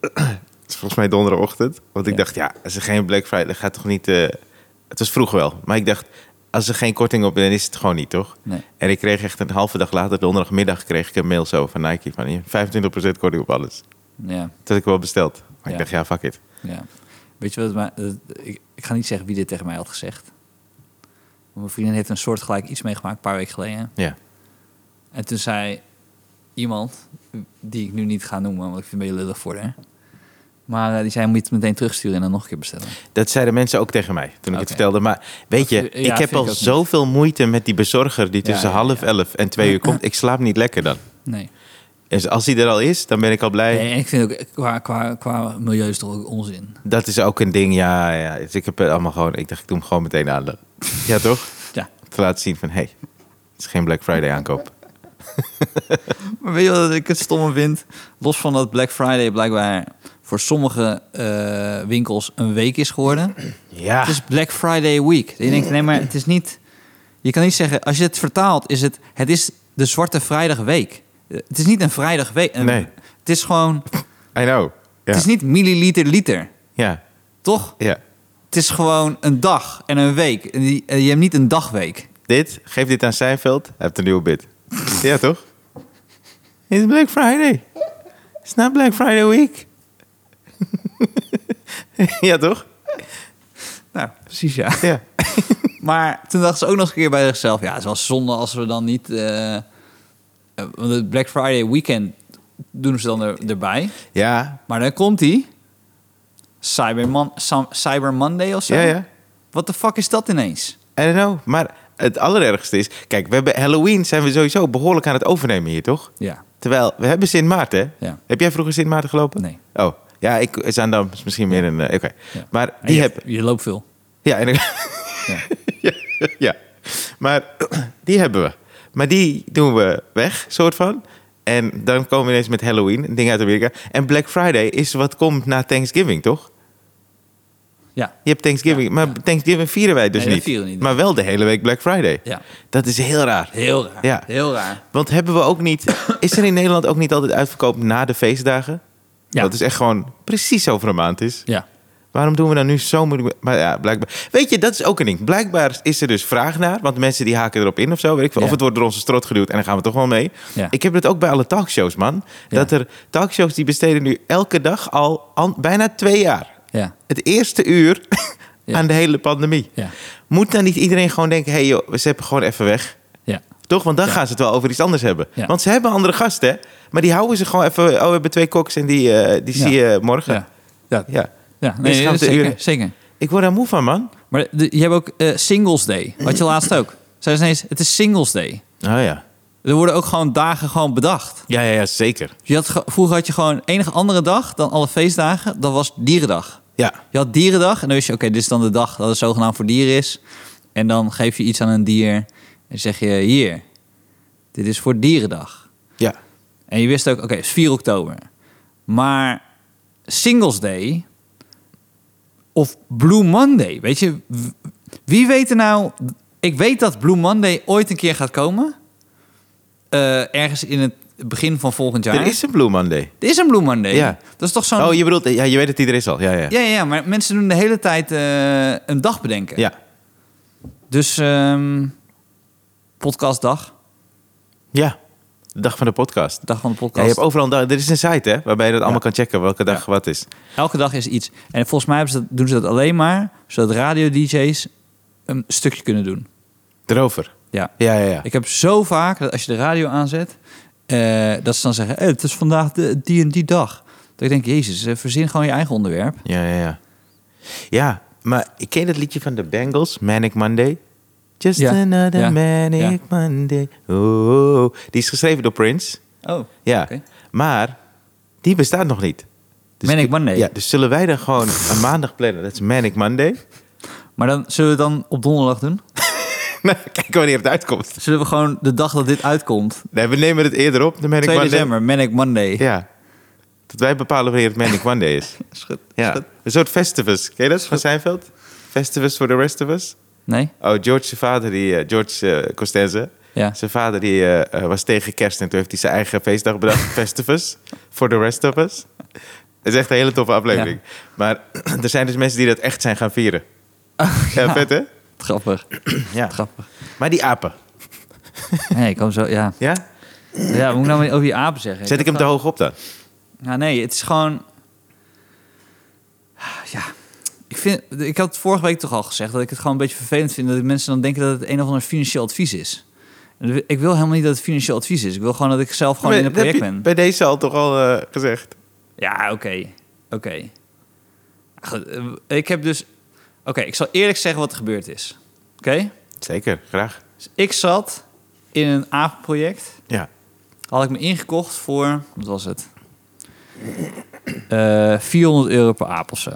het is volgens mij donderdagochtend. Want ik
Ja.
dacht, ja, als er geen Black Friday gaat toch niet... eh, het was vroeg wel. Maar ik dacht, als er geen korting op is, dan is het gewoon niet, toch?
Nee.
En ik kreeg echt een halve dag later, donderdagmiddag, kreeg ik een mail zo van Nike. Van hier, 25% korting op alles.
Ja,
Dat had ik wel besteld. Maar
Ja.
ik dacht, ja, fuck it.
ja. Weet je wat? het mij- eh, ik, ik ga niet zeggen wie dit tegen mij had gezegd. Mijn vriendin heeft een soortgelijk iets meegemaakt een paar weken geleden.
Ja.
En toen zei iemand, die ik nu niet ga noemen, want ik vind het een beetje lullig voor haar. Maar eh, die zei, moet je het meteen terugsturen en dan nog een keer bestellen.
Dat zeiden mensen ook tegen mij toen ik
Oké.
het vertelde. Maar weet je,
Ja,
ik
vind
heb
ik
al
ook niet.
zoveel moeite met die bezorger die
Ja,
tussen
ja,
half
ja.
elf en twee uur komt. Ik slaap niet lekker dan.
Nee.
Dus als hij er al is, dan ben ik al blij.
Nee, en ik vind ook, eh, qua, qua, qua milieu is het toch ook onzin.
Dat is ook een ding, ja, ja. Dus ik heb het allemaal gewoon, ik dacht, ik doe hem gewoon meteen aan. Ja, toch?
Ja.
Te laten zien van, hé, hey, het is geen Black Friday aankoop.
Maar weet je wat ik het stomme vind? Los van dat Black Friday blijkbaar voor sommige eh, winkels een week is geworden.
Ja.
Het is Black Friday week. Je denkt, nee, maar het is niet... Je kan niet zeggen, als je het vertaalt, is het... Het is de Zwarte Vrijdag week. Eh, Het is niet een vrijdag week. Een-
Nee.
Het is gewoon...
I know. Ja.
Het is niet milliliter liter,
ja,
toch?
ja.
Het is gewoon een dag en een week. En die- eh, Je hebt niet een dagweek.
Dit, geef dit aan Seinfeld, hij heeft een nieuwe bid. ja, toch? Het is Black Friday. It's not Black Friday week. ja, toch?
Nou, precies ja.
Ja.
Maar toen dacht ze ook nog eens een keer bij zichzelf... Ja, het is wel zonde als we dan niet... eh, eh, want het Black Friday weekend doen ze dan er- erbij.
Ja,
Maar dan komt die. Cyber, Mon- Sam- Cyber Monday of zo.
ja, ja.
Wat de fuck is dat ineens?
I don't know. Maar het allerergste is... Kijk, we hebben Halloween zijn we sowieso behoorlijk aan het overnemen hier, toch?
Ja.
Terwijl, we hebben Sint Maarten, hè?
Ja.
Heb jij vroeger Sint Maarten gelopen?
Nee.
Oh, ja, ik, Zaandam is misschien meer een... eh, Oké.
Ja.
Maar
En
die
je,
heb...
je loopt veel.
Ja, en
Ja.
ja, ja. Maar die hebben we. Maar die doen we weg, soort van. En dan komen we ineens met Halloween, een ding uit Amerika. En Black Friday is wat komt na Thanksgiving, toch?
Ja.
Je hebt Thanksgiving, maar Thanksgiving vieren wij dus
Nee, dat
niet.
vieren we niet.
Maar wel de hele week Black Friday.
Ja.
Dat is heel raar.
Heel raar.
Ja.
Heel raar.
Want hebben we ook niet... Is er in Nederland ook niet altijd uitverkoop na de feestdagen?
Ja.
Dat is echt gewoon precies over een maand is.
Ja.
Waarom doen we dan nu zo moeilijk? Maar ja, blijkbaar. Weet je, dat is ook een ding. Blijkbaar is er dus vraag naar, want mensen die haken erop in of zo. Weet ik veel. Of
Ja.
het wordt door onze strot geduwd en dan gaan we toch wel mee.
Ja.
Ik heb het ook bij alle talkshows, man.
Ja.
Dat er talkshows die besteden nu elke dag al an- bijna twee jaar.
Ja.
Het eerste uur
Ja.
aan de hele pandemie.
Ja.
Moet dan niet iedereen gewoon denken: hé hey joh, we zetten gewoon even weg.
Ja.
Toch? Want dan
Ja.
gaan ze het wel over iets anders hebben.
Ja.
Want ze hebben andere gasten, hè? maar die houden ze gewoon even. Oh, we hebben twee koks en die, eh, die
Ja.
zie je morgen.
Ja. Ja.
Ja.
Ja.
Mensen
Nee,
gaan te
zeker.
uren.
Zeker.
Ik word daar moe van, man.
Maar de- je hebt ook eh, Singles Day. Had je laatst ook. Zij is ineens, het is Singles Day.
Oh ja.
Er worden ook gewoon dagen gewoon bedacht. Dus
Ja, ja, ja, zeker.
Je had, ge- vroeger had je gewoon enige andere dag dan alle feestdagen. Dat was dierendag.
Ja.
Je had dierendag en dan wist je, oké, dit is dan de dag dat het zogenaamd voor dieren is. En dan geef je iets aan een dier en zeg je, hier, dit is voor dierendag.
Ja.
En je wist ook, oké, het is 4 oktober. Maar Singles Day of Blue Monday, weet je, w- wie weet er nou... Ik weet dat Blue Monday ooit een keer gaat komen. Eh, ergens in het begin van volgend jaar.
Er is een Blue Monday.
Er is een Blue Monday.
Ja.
Dat is toch zo'n...
Oh, je bedoelt, ja, je weet het, die er is al. Ja, ja.
Ja, ja, ja, maar mensen doen de hele tijd eh, een dag bedenken.
Ja.
Dus ehm, podcastdag,
ja. De dag van de podcast.
dag van de
Ja, je
podcast.
hebt overal een dag. Er is een site, hè, waarbij je dat allemaal kan checken welke dag wat is.
Elke dag is iets. En volgens mij hebben ze dat, doen ze dat alleen maar zodat radio-dj's een stukje kunnen doen.
Erover.
Ja.
Ja, ja, ja.
Ik heb zo vaak dat als je de radio aanzet, eh, dat ze dan zeggen: "Hé, het is vandaag de, die en die dag. Dat ik denk: Jezus, eh, verzin gewoon je eigen onderwerp.
Ja, ja, ja. Ja, maar ik ken dat liedje van de Bengals, Manic Monday. Just
Ja.
another
Ja.
manic Monday. Oh, oh, oh. Die is geschreven door Prince.
Oh,
Ja.
Oké.
Maar die bestaat nog niet.
Manic Monday.
Ja, dus zullen wij dan gewoon een maandag plannen? Dat is Manic Monday.
Maar dan zullen we het dan op donderdag doen?
Nou, Kijk wanneer het uitkomt.
Zullen we gewoon de dag dat dit uitkomt,
Nee, we nemen het eerder op, de Manic
2
Monday.
december, Manic Monday.
Ja. Dat wij bepalen wanneer het Manic Monday is.
Schud.
Ja. Een soort Festivus. Ken je dat van Seinfeld? Festivus for the rest of us.
Nee?
Oh, George, zijn vader, die, eh, George eh, Costanza.
Ja.
Zijn vader die, eh, eh, was tegen kerst en toen heeft hij zijn eigen feestdag bedacht. Festivus. For the rest of us. Het is echt een hele toffe aflevering. Maar er zijn dus mensen die dat echt zijn gaan vieren. ja, vet hè?
Grappig.
Ja.
Grappig.
Maar die apen.
Nee, ik kom zo... Ja.
Ja?
Ja, moet ik nou over die apen zeggen?
Zet ik hem te hoog op dan?
Ja, nee, het is gewoon... Ja, ik, vind, ik had het vorige week toch al gezegd... dat ik het gewoon een beetje vervelend vind... dat die mensen dan denken dat het een of ander financieel advies is. En Ik wil helemaal niet dat het financieel advies is. Ik wil gewoon dat ik zelf gewoon
Maar
in het
dat heb
project
je
ben.
Bij deze al toch al eh, gezegd.
Ja, oké. Oké. Goed, eh, Ik heb dus... Oké, ik zal eerlijk zeggen wat er gebeurd is. Oké?
Zeker, graag.
Dus ik zat in een apenproject.
Ja.
Had ik me ingekocht voor... Wat was het? Eh, 400 euro per aap of zo.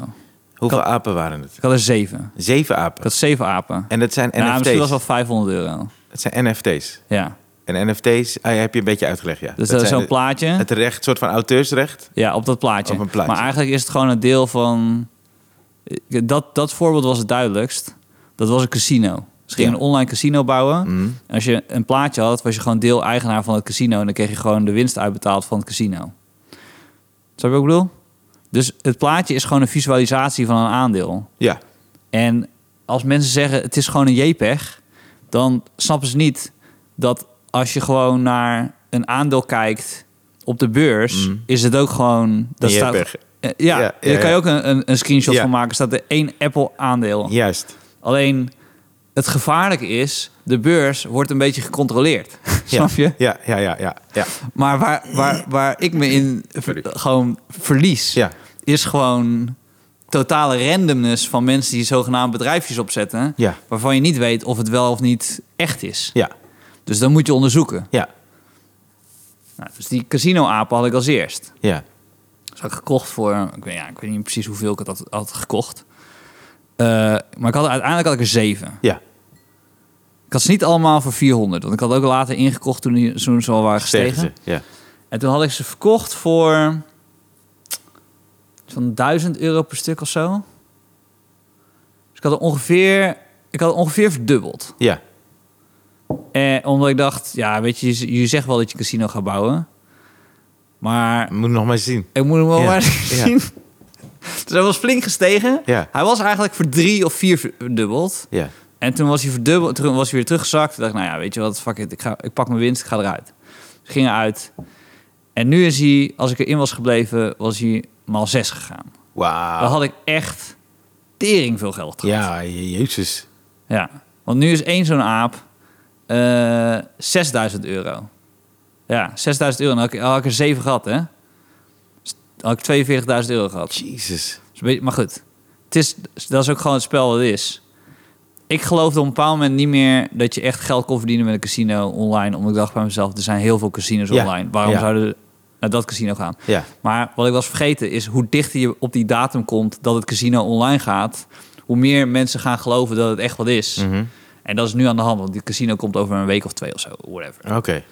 Hoeveel apen waren het?
Ik had er zeven.
Zeven apen.
Ik had zeven apen.
En dat zijn
En nou,
NFT's.
misschien was het wel 500 euro.
Het zijn NFT's.
Ja.
En NFT's ah, ja, heb je een beetje uitgelegd, ja.
Dus dat is
zijn
zo'n plaatje.
Het recht, soort van auteursrecht.
Ja, op dat plaatje.
Op een plaatje.
Maar eigenlijk is het gewoon een deel van... eh, Dat, dat voorbeeld was het duidelijkst. Dat was een casino. Ze gingen
Ja. Mhm.
een online casino bouwen. En als je een plaatje had, was je gewoon deel-eigenaar van het casino. En dan kreeg je gewoon de winst uitbetaald van het casino. Snap je wat ik bedoel? Dus het plaatje is gewoon een visualisatie van een aandeel.
Ja.
En als mensen zeggen het is gewoon een JPEG, dan snappen ze niet dat als je gewoon naar een aandeel kijkt op de beurs, is het ook gewoon. Dat
Mm. Een
staat,
JPEG.
Eh, ja,
Ja, ja,
daar kan
ja.
je ook een, een, een screenshot
Ja.
van maken. Er staat er één Apple aandeel.
Juist.
Alleen het gevaarlijke is, de beurs wordt een beetje gecontroleerd. Snap je?
Ja, ja, ja, ja. ja.
Maar waar, waar, waar ik me in ver-
Sorry.
gewoon verlies,
Ja.
is gewoon totale randomness van mensen die zogenaamd bedrijfjes opzetten,
Ja.
waarvan je niet weet of het wel of niet echt is.
Ja.
Dus dan moet je onderzoeken.
Ja.
Nou, dus die casino-apen had ik als eerst.
Ja.
Dus had ik gekocht voor, ik weet, ja, ik weet niet precies hoeveel ik het had, had gekocht. Eh, maar ik had, er- uiteindelijk had ik er zeven.
Ja.
Ik had ze niet allemaal voor 400, want ik had ook later ingekocht toen, die, toen ze al waren
Stegen
gestegen.
ze. Ja.
En toen had ik ze verkocht voor zo'n 1000 euro per stuk of zo. Dus ik had het ongeveer, ik had het ongeveer verdubbeld.
Ja.
En omdat ik dacht, ja, weet je, je- je zegt wel dat je casino gaat bouwen. Maar
Moet nog maar zien.
ik moet hem wel
Ja,
maar
ja.
zien. Dus hij was flink gestegen.
Ja.
Hij was eigenlijk voor drie of vier verdubbeld.
Ja.
En toen was hij verdubbeld, toen was hij weer teruggezakt. Toen dacht ik, nou ja, weet je wat, fuck it, ik, ga, ik pak mijn winst, ik ga eruit. Dus ik ging eruit. En nu is hij, als ik erin was gebleven, was hij maal zes gegaan. Dan
Wauw.
had ik echt tering veel geld gehad.
Ja, je- jezus.
Ja. Want nu is één zo'n aap eh 6000 euro. Ja, 6000 euro. Dan had ik, had ik er zeven gehad, hè? Dus Dan had ik 42.000 euro gehad.
Jezus.
Dus een beetje- Maar goed, het is, dat is ook gewoon het spel wat het is. Ik geloofde op een bepaald moment niet meer dat je echt geld kon verdienen met een casino online. Omdat ik dacht bij mezelf, er zijn heel veel casinos
Ja,
online. Waarom
ja.
zouden we naar dat casino gaan?
Ja.
Maar wat ik was vergeten is hoe dichter je op die datum komt dat het casino online gaat, hoe meer mensen gaan geloven dat het echt wat is.
Mhm.
En dat is nu aan de hand, want die casino komt over een week of twee of zo, whatever.
Oké.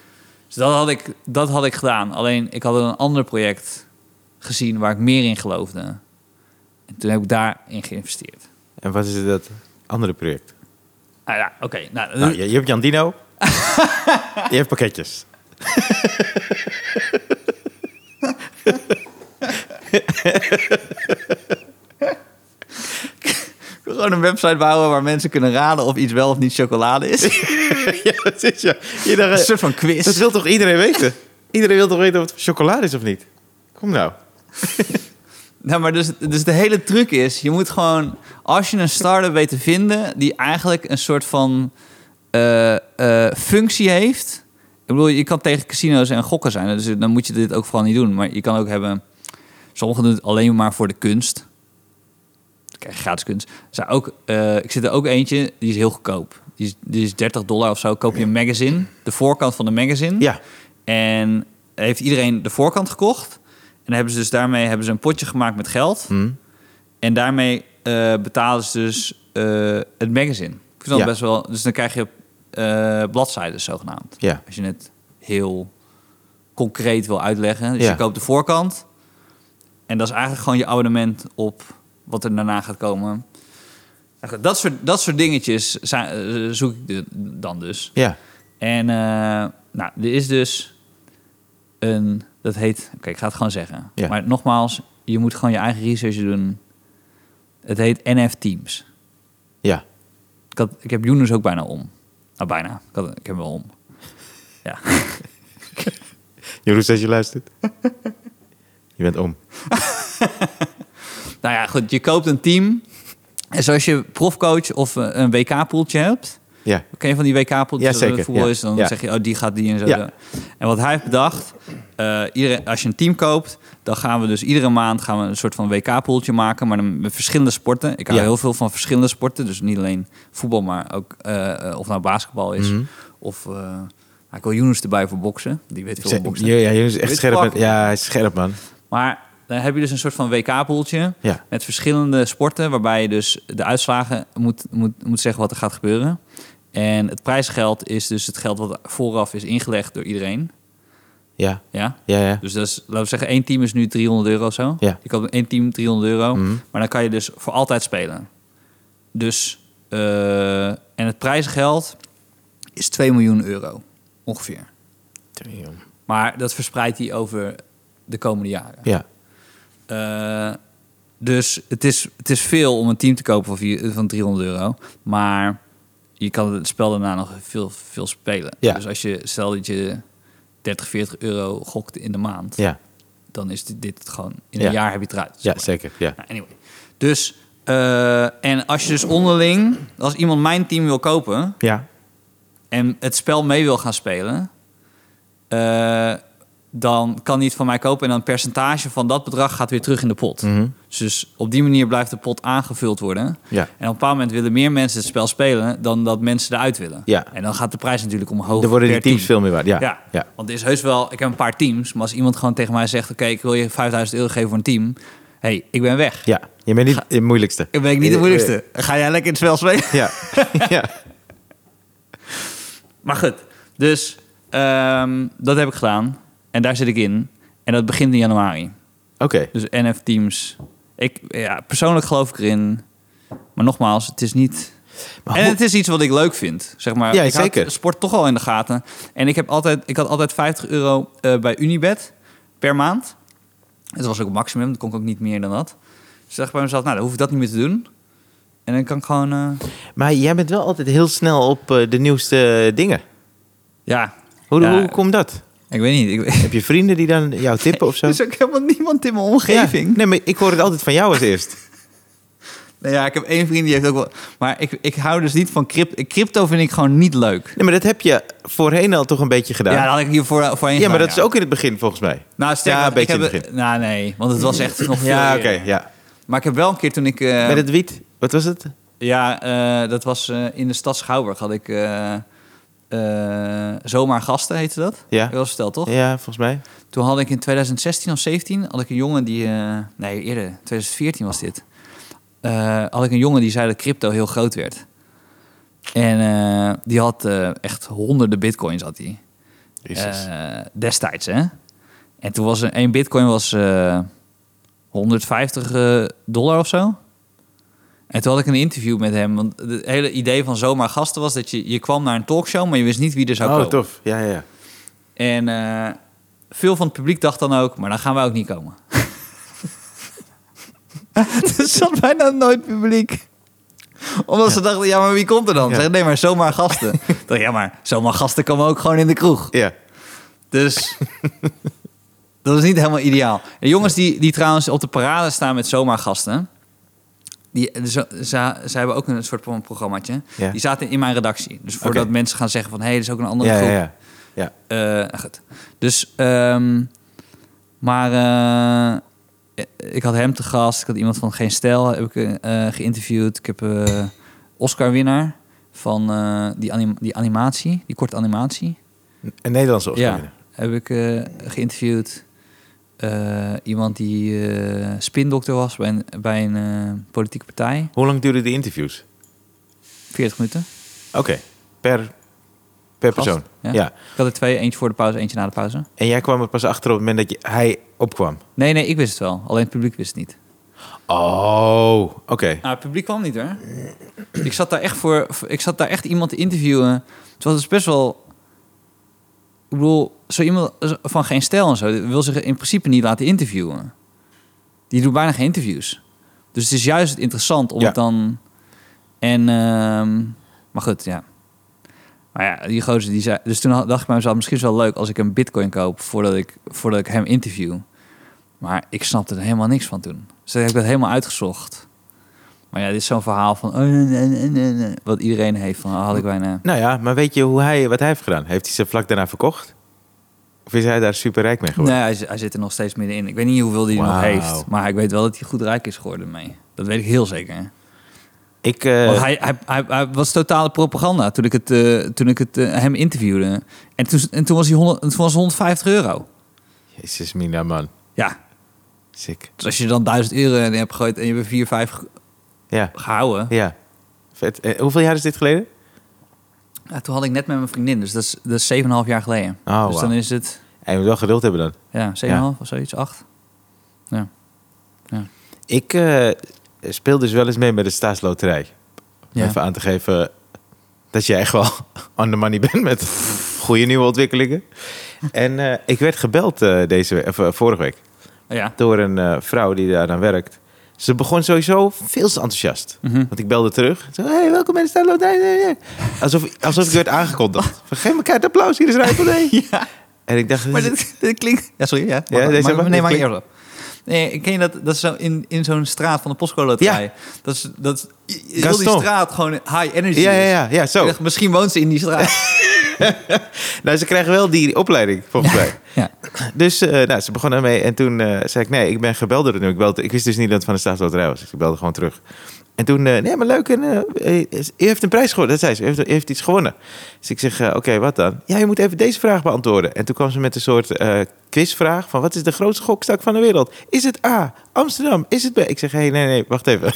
Dus dat had, ik, dat had ik gedaan. Alleen ik had een ander project gezien waar ik meer in geloofde. En toen heb ik daarin geïnvesteerd.
En wat is dat andere project?
Ah ja, oké. Nou,
Nou, je, je hebt Jan Dino. je hebt pakketjes.
Gewoon een website bouwen waar mensen kunnen raden of iets wel of niet chocolade is.
ja, dat is ja. Je dacht,
een
eh,
soort van quiz.
dat wil toch iedereen weten? Iedereen wil toch weten of het chocolade is of niet? Kom nou.
Nou, maar dus, dus de hele truc is, je moet gewoon... Als je een start-up weet te vinden die eigenlijk een soort van eh, eh, functie heeft... Ik bedoel, je kan tegen casino's en gokken zijn. hè, Dus dan moet je dit ook vooral niet doen. Maar je kan ook hebben... Sommigen doen het alleen maar voor de kunst. Dan krijg je gratis kunst. Er zijn ook, eh, ik zit er ook eentje, die is heel goedkoop. Die is, die is 30 dollar of zo. Koop je een magazine, de voorkant van de magazine.
Ja.
En heeft iedereen de voorkant gekocht. En dan hebben ze dus daarmee hebben ze een potje gemaakt met geld. En daarmee eh, betalen ze dus eh, het magazine. Ik vind dat
Ja.
best wel. Dus dan krijg je eh bladzijden zogenaamd.
Ja.
Als je het heel concreet wil uitleggen. Dus
Ja.
je koopt de voorkant. En dat is eigenlijk gewoon je abonnement op wat er daarna gaat komen. Nou goed, Dat soort, dat soort dingetjes zijn- eh, zoek ik de- dan dus.
Ja.
En eh, nou, er is dus een, dat heet, oké, ik ga het gewoon zeggen.
Ja.
Maar nogmaals, je moet gewoon je eigen research doen. Het heet NF Teams.
Ja.
Ik, had, ik heb Younes ook bijna om. Nou, bijna. Ik, had, ik heb hem wel om. Ja.
Jeroen, als je luistert. je bent om.
nou ja, goed, je koopt een team. En zoals je profcoach of eh, een WK-poeltje hebt...
Ja.
Ken je van die WK-poeltjes?
Ja,
als er
zeker,
voetbal
ja.
is, dan
Ja.
zeg je, oh, die gaat die en zo.
Ja.
En wat hij heeft bedacht, eh, iedereen, als je een team koopt... dan gaan we dus iedere maand gaan we een soort van WK-poeltje maken... maar dan met verschillende sporten. Ik hou
Ja.
heel veel van verschillende sporten. Dus niet alleen voetbal, maar ook eh, eh, of nou basketbal is.
Mhm.
Of eh, nou, ik wil Younes erbij voor boksen. Die weet veel van boksen.
Ja, Jeroen is echt
Dit
scherp.
pak-
met- ja, hij is scherp, man.
Maar dan heb je dus een soort van WK-poeltje
Ja.
met verschillende sporten, waarbij je dus de uitslagen moet, moet, moet zeggen wat er gaat gebeuren. En het prijsgeld is dus het geld wat vooraf is ingelegd door iedereen.
Ja.
Ja?
Ja, ja.
Dus dat is, laten we zeggen, één team is nu 300 euro of zo.
Ja. Mhm.
Je koopt één team 300 euro, maar dan kan je dus voor altijd spelen. Dus, eh, en het prijsgeld is 2 miljoen euro, ongeveer. Maar dat verspreidt hij over de komende jaren.
Ja.
Eh, dus het is, het is veel om een team te kopen van, vier- van 300 euro. Maar je kan het spel daarna nog veel, veel spelen.
Ja.
Dus als je, stel dat je 30, 40 euro gokt in de maand,
Ja.
dan is dit, dit het gewoon. In
Ja.
een jaar heb je het eruit. zeg
Ja,
maar.
zeker. Ja.
Nou, anyway. Dus, eh, en als je dus onderling, als iemand mijn team wil kopen
Ja.
en het spel mee wil gaan spelen, eh, dan kan hij het van mij kopen en dan een percentage van dat bedrag gaat weer terug in de pot.
Mhm.
Dus op die manier blijft de pot aangevuld worden.
Ja.
En op een bepaald moment willen meer mensen het spel spelen dan dat mensen eruit willen.
Ja.
En dan gaat de prijs natuurlijk omhoog.
Er worden die
per
teams
team.
veel meer waard. Ja.
Ja.
Ja.
want er is heus wel, ik heb een paar teams, maar als iemand gewoon tegen mij zegt: Oké, ik wil je 5000 euro geven voor een team, hey, ik ben weg.
Ja. Je bent niet de moeilijkste.
Dan ben ik niet de moeilijkste. Ga jij lekker het spel spelen?
Ja. ja.
Maar goed, dus ehm, dat heb ik gedaan. En daar zit ik in. En dat begint in januari.
Oké.
Dus NF Teams. Ik, ja, persoonlijk geloof ik erin. Maar nogmaals, het is niet.
Maar
en
hoe-
het is iets wat ik leuk vind. Zeg maar.
Ja,
ik houd
zeker.
sport toch al in de gaten. En ik, heb altijd, ik had altijd 50 euro eh, bij Unibet per maand. Het was ook het maximum. Dat kon ik ook niet meer dan dat. Dus dacht ik bij mezelf, nou, dan hoef ik dat niet meer te doen. En dan kan ik gewoon. eh,
Maar jij bent wel altijd heel snel op eh, de nieuwste dingen.
ja.
Hoe,
Ja,
hoe komt dat?
Ik weet niet. Ik,
Heb je vrienden die dan jou tippen of zo?
Er is ook helemaal niemand in mijn
Ja.
omgeving.
Nee, maar ik hoor het altijd van jou als eerst.
Nou ja, ik heb één vriend die heeft ook wel... Maar ik, ik hou dus niet van crypto. Crypto vind ik gewoon niet leuk.
Nee, maar dat heb je voorheen al toch een beetje gedaan.
Ja, dat had ik hier voor, voorheen
Ja, maar
gedaan,
dat is ook in het begin volgens mij.
Nou, sterker
Ja,
nog,
een beetje
ik heb
in het
het- Nou, nee. Want het was echt nog veel
Ja, oké,
eerder.
ja.
Maar ik heb wel een keer toen ik... eh,
Met het wiet, wat was het?
Ja, eh, dat was eh, in de stad Schouwburg had ik... eh, eh, zomaar gasten heette dat.
Ja.
Heb je wel verteld, toch?
Ja, volgens mij.
Toen had ik in 2016 of 17 had ik een jongen die... eh, nee, eerder. 2014 was dit. Eh, had ik een jongen die zei dat crypto heel groot werd. En eh, die had eh, echt honderden bitcoins had hij.
Jezus.
Eh, destijds, hè. En toen was een, een bitcoin was eh, 150 eh, dollar of zo. En toen had ik een interview met hem. Want het hele idee van zomaar gasten was dat je, je kwam naar een talkshow... maar je wist niet wie er zou
oh,
komen.
tof. Ja, ja, ja.
En eh, veel van het publiek dacht dan ook, maar dan gaan wij ook niet komen. er zat bijna nooit publiek. Omdat ze dachten, ja, maar wie komt er dan?
Ja.
Zeg, nee, maar zomaar gasten. Ik dacht, ja, maar zomaar gasten komen ook gewoon in de kroeg.
Ja,
Dus dat is niet helemaal ideaal. En jongens die, die trouwens op de parade staan met zomaar gasten... Die, ze, ze, ze hebben ook een soort van programmaatje.
Ja.
Die zaten in mijn redactie. Dus voordat
Oké.
mensen gaan zeggen van... hé, hey, dat is ook een andere
ja, ja.
groep.
ja. ja.
Eh, nou goed. Dus, ehm, maar eh, ik had hem te gast. Ik had iemand van Geen Stijl heb ik, eh, geïnterviewd. Ik heb eh, Oscar-winnaar van eh, die, anim- die animatie, die korte animatie.
Een Nederlandse Oscar
Ja,
winnaar.
heb ik eh, geïnterviewd. Eh, iemand die eh spindokter was bij een, bij een eh, politieke partij.
Hoe lang duren de interviews?
40 minuten.
Oké, per, per
Gast,
persoon.
ja.
ja.
Ik had er twee, eentje voor de pauze, eentje na de pauze.
En jij kwam er pas achter op het moment dat je, hij opkwam.
Nee, nee, ik wist het wel. Alleen het publiek wist het niet.
Oh, oké.
Nou, het publiek kwam niet hoor. ik, zat daar echt voor, ik zat daar echt iemand te interviewen. Het was dus best wel. Ik bedoel, zo iemand van geen stijl en zo die wil zich in principe niet laten interviewen. Die doet bijna geen interviews. Dus het is juist interessant om
Ja.
het dan. En, ehm, maar goed, ja. Maar ja, die gozer die zei. Dus toen had- dacht ik bij mezelf: misschien is het wel leuk als ik een Bitcoin koop voordat ik, voordat ik hem interview. Maar ik snapte er helemaal niks van toen. Dus toen heb ik dat helemaal uitgezocht. Maar ja, dit is zo'n verhaal van... oh, nee, nee, nee, nee, nee, wat iedereen heeft van... ah, had ik bijna...
Nou ja, maar weet je hoe hij, wat hij heeft gedaan? Heeft hij ze vlak daarna verkocht? Of is hij daar super rijk mee
Nee,
geworden?
hij, zi- hij zit er nog steeds middenin. Ik weet niet hoeveel hij nog
Wauw.
heeft. Maar ik weet wel dat hij goed rijk is geworden mee. Dat weet ik heel zeker.
Ik, eh,
Want hij, hij, hij, hij was totale propaganda toen ik, het, eh, toen ik het, eh, hem interviewde. En toen, en toen was hij 100, en toen was het 150 euro.
Jezus, Mina, man.
Ja,
Sick.
dus als je dan 1000 euro in hebt gegooid en je hebt 4, 5
Ja,
gehouden...
ja. Vet. Eh, hoeveel jaar is dit geleden?
Ja, toen had ik net met mijn vriendin, dus dat is, dat is 7,5 jaar geleden.
Oh,
dus
wauw.
dan is het...
Hij moet wel geduld hebben dan.
Ja, 7,5 of zoiets, 8. Ja.
Ik eh, speel dus wel eens mee met de staatsloterij. Om
Ja.
Even aan te geven dat je echt wel on the money bent met goede nieuwe ontwikkelingen. En eh, ik werd gebeld eh, deze week, of, eh, vorige week
ja.
door een eh, vrouw die daar aan werkt. Ze begon sowieso veel te enthousiast.
Mhm.
Want ik belde terug. Zo, hey, welkom bij de staatsloterij. Alsof, alsof ik werd aangekondigd. Van, Geef elkaar het applaus, hier is Rijpel.
ja.
En ik dacht,
Maar dit, dit klinkt... Ja, sorry, ja. Maar-
deze
maar,
hebben-
nee,
dit
maar
klinkt-
eerder. Nee, ken je dat? Dat is zo in, in zo'n straat van de postcode loterij.
Ja.
Dat is, dat is, heel die
Gaston.
straat gewoon high energy
ja, ja,
is.
ja, ja,
Ik
zo.
dacht, misschien woont ze in die straat.
Nou, ze krijgen wel die opleiding, volgens mij.
ja.
Dus eh, nou, ze begon daarmee en toen eh, zei ik, nee, ik ben gebeld door het nummer. Ik, belde, ik wist dus niet dat het van de staatsloterij was, dus ik belde gewoon terug. En toen, eh, nee, maar leuk, en, eh, eh, u heeft een prijs gewonnen, dat zei ze, u heeft, u heeft iets gewonnen. Dus ik zeg, eh, oké, wat dan? Ja, je moet even deze vraag beantwoorden. En toen kwam ze met een soort eh, quizvraag van, wat is de grootste gokstak van de wereld? Is het A, Amsterdam? Is het B? Ik zeg, hé, hey, nee, nee, wacht even.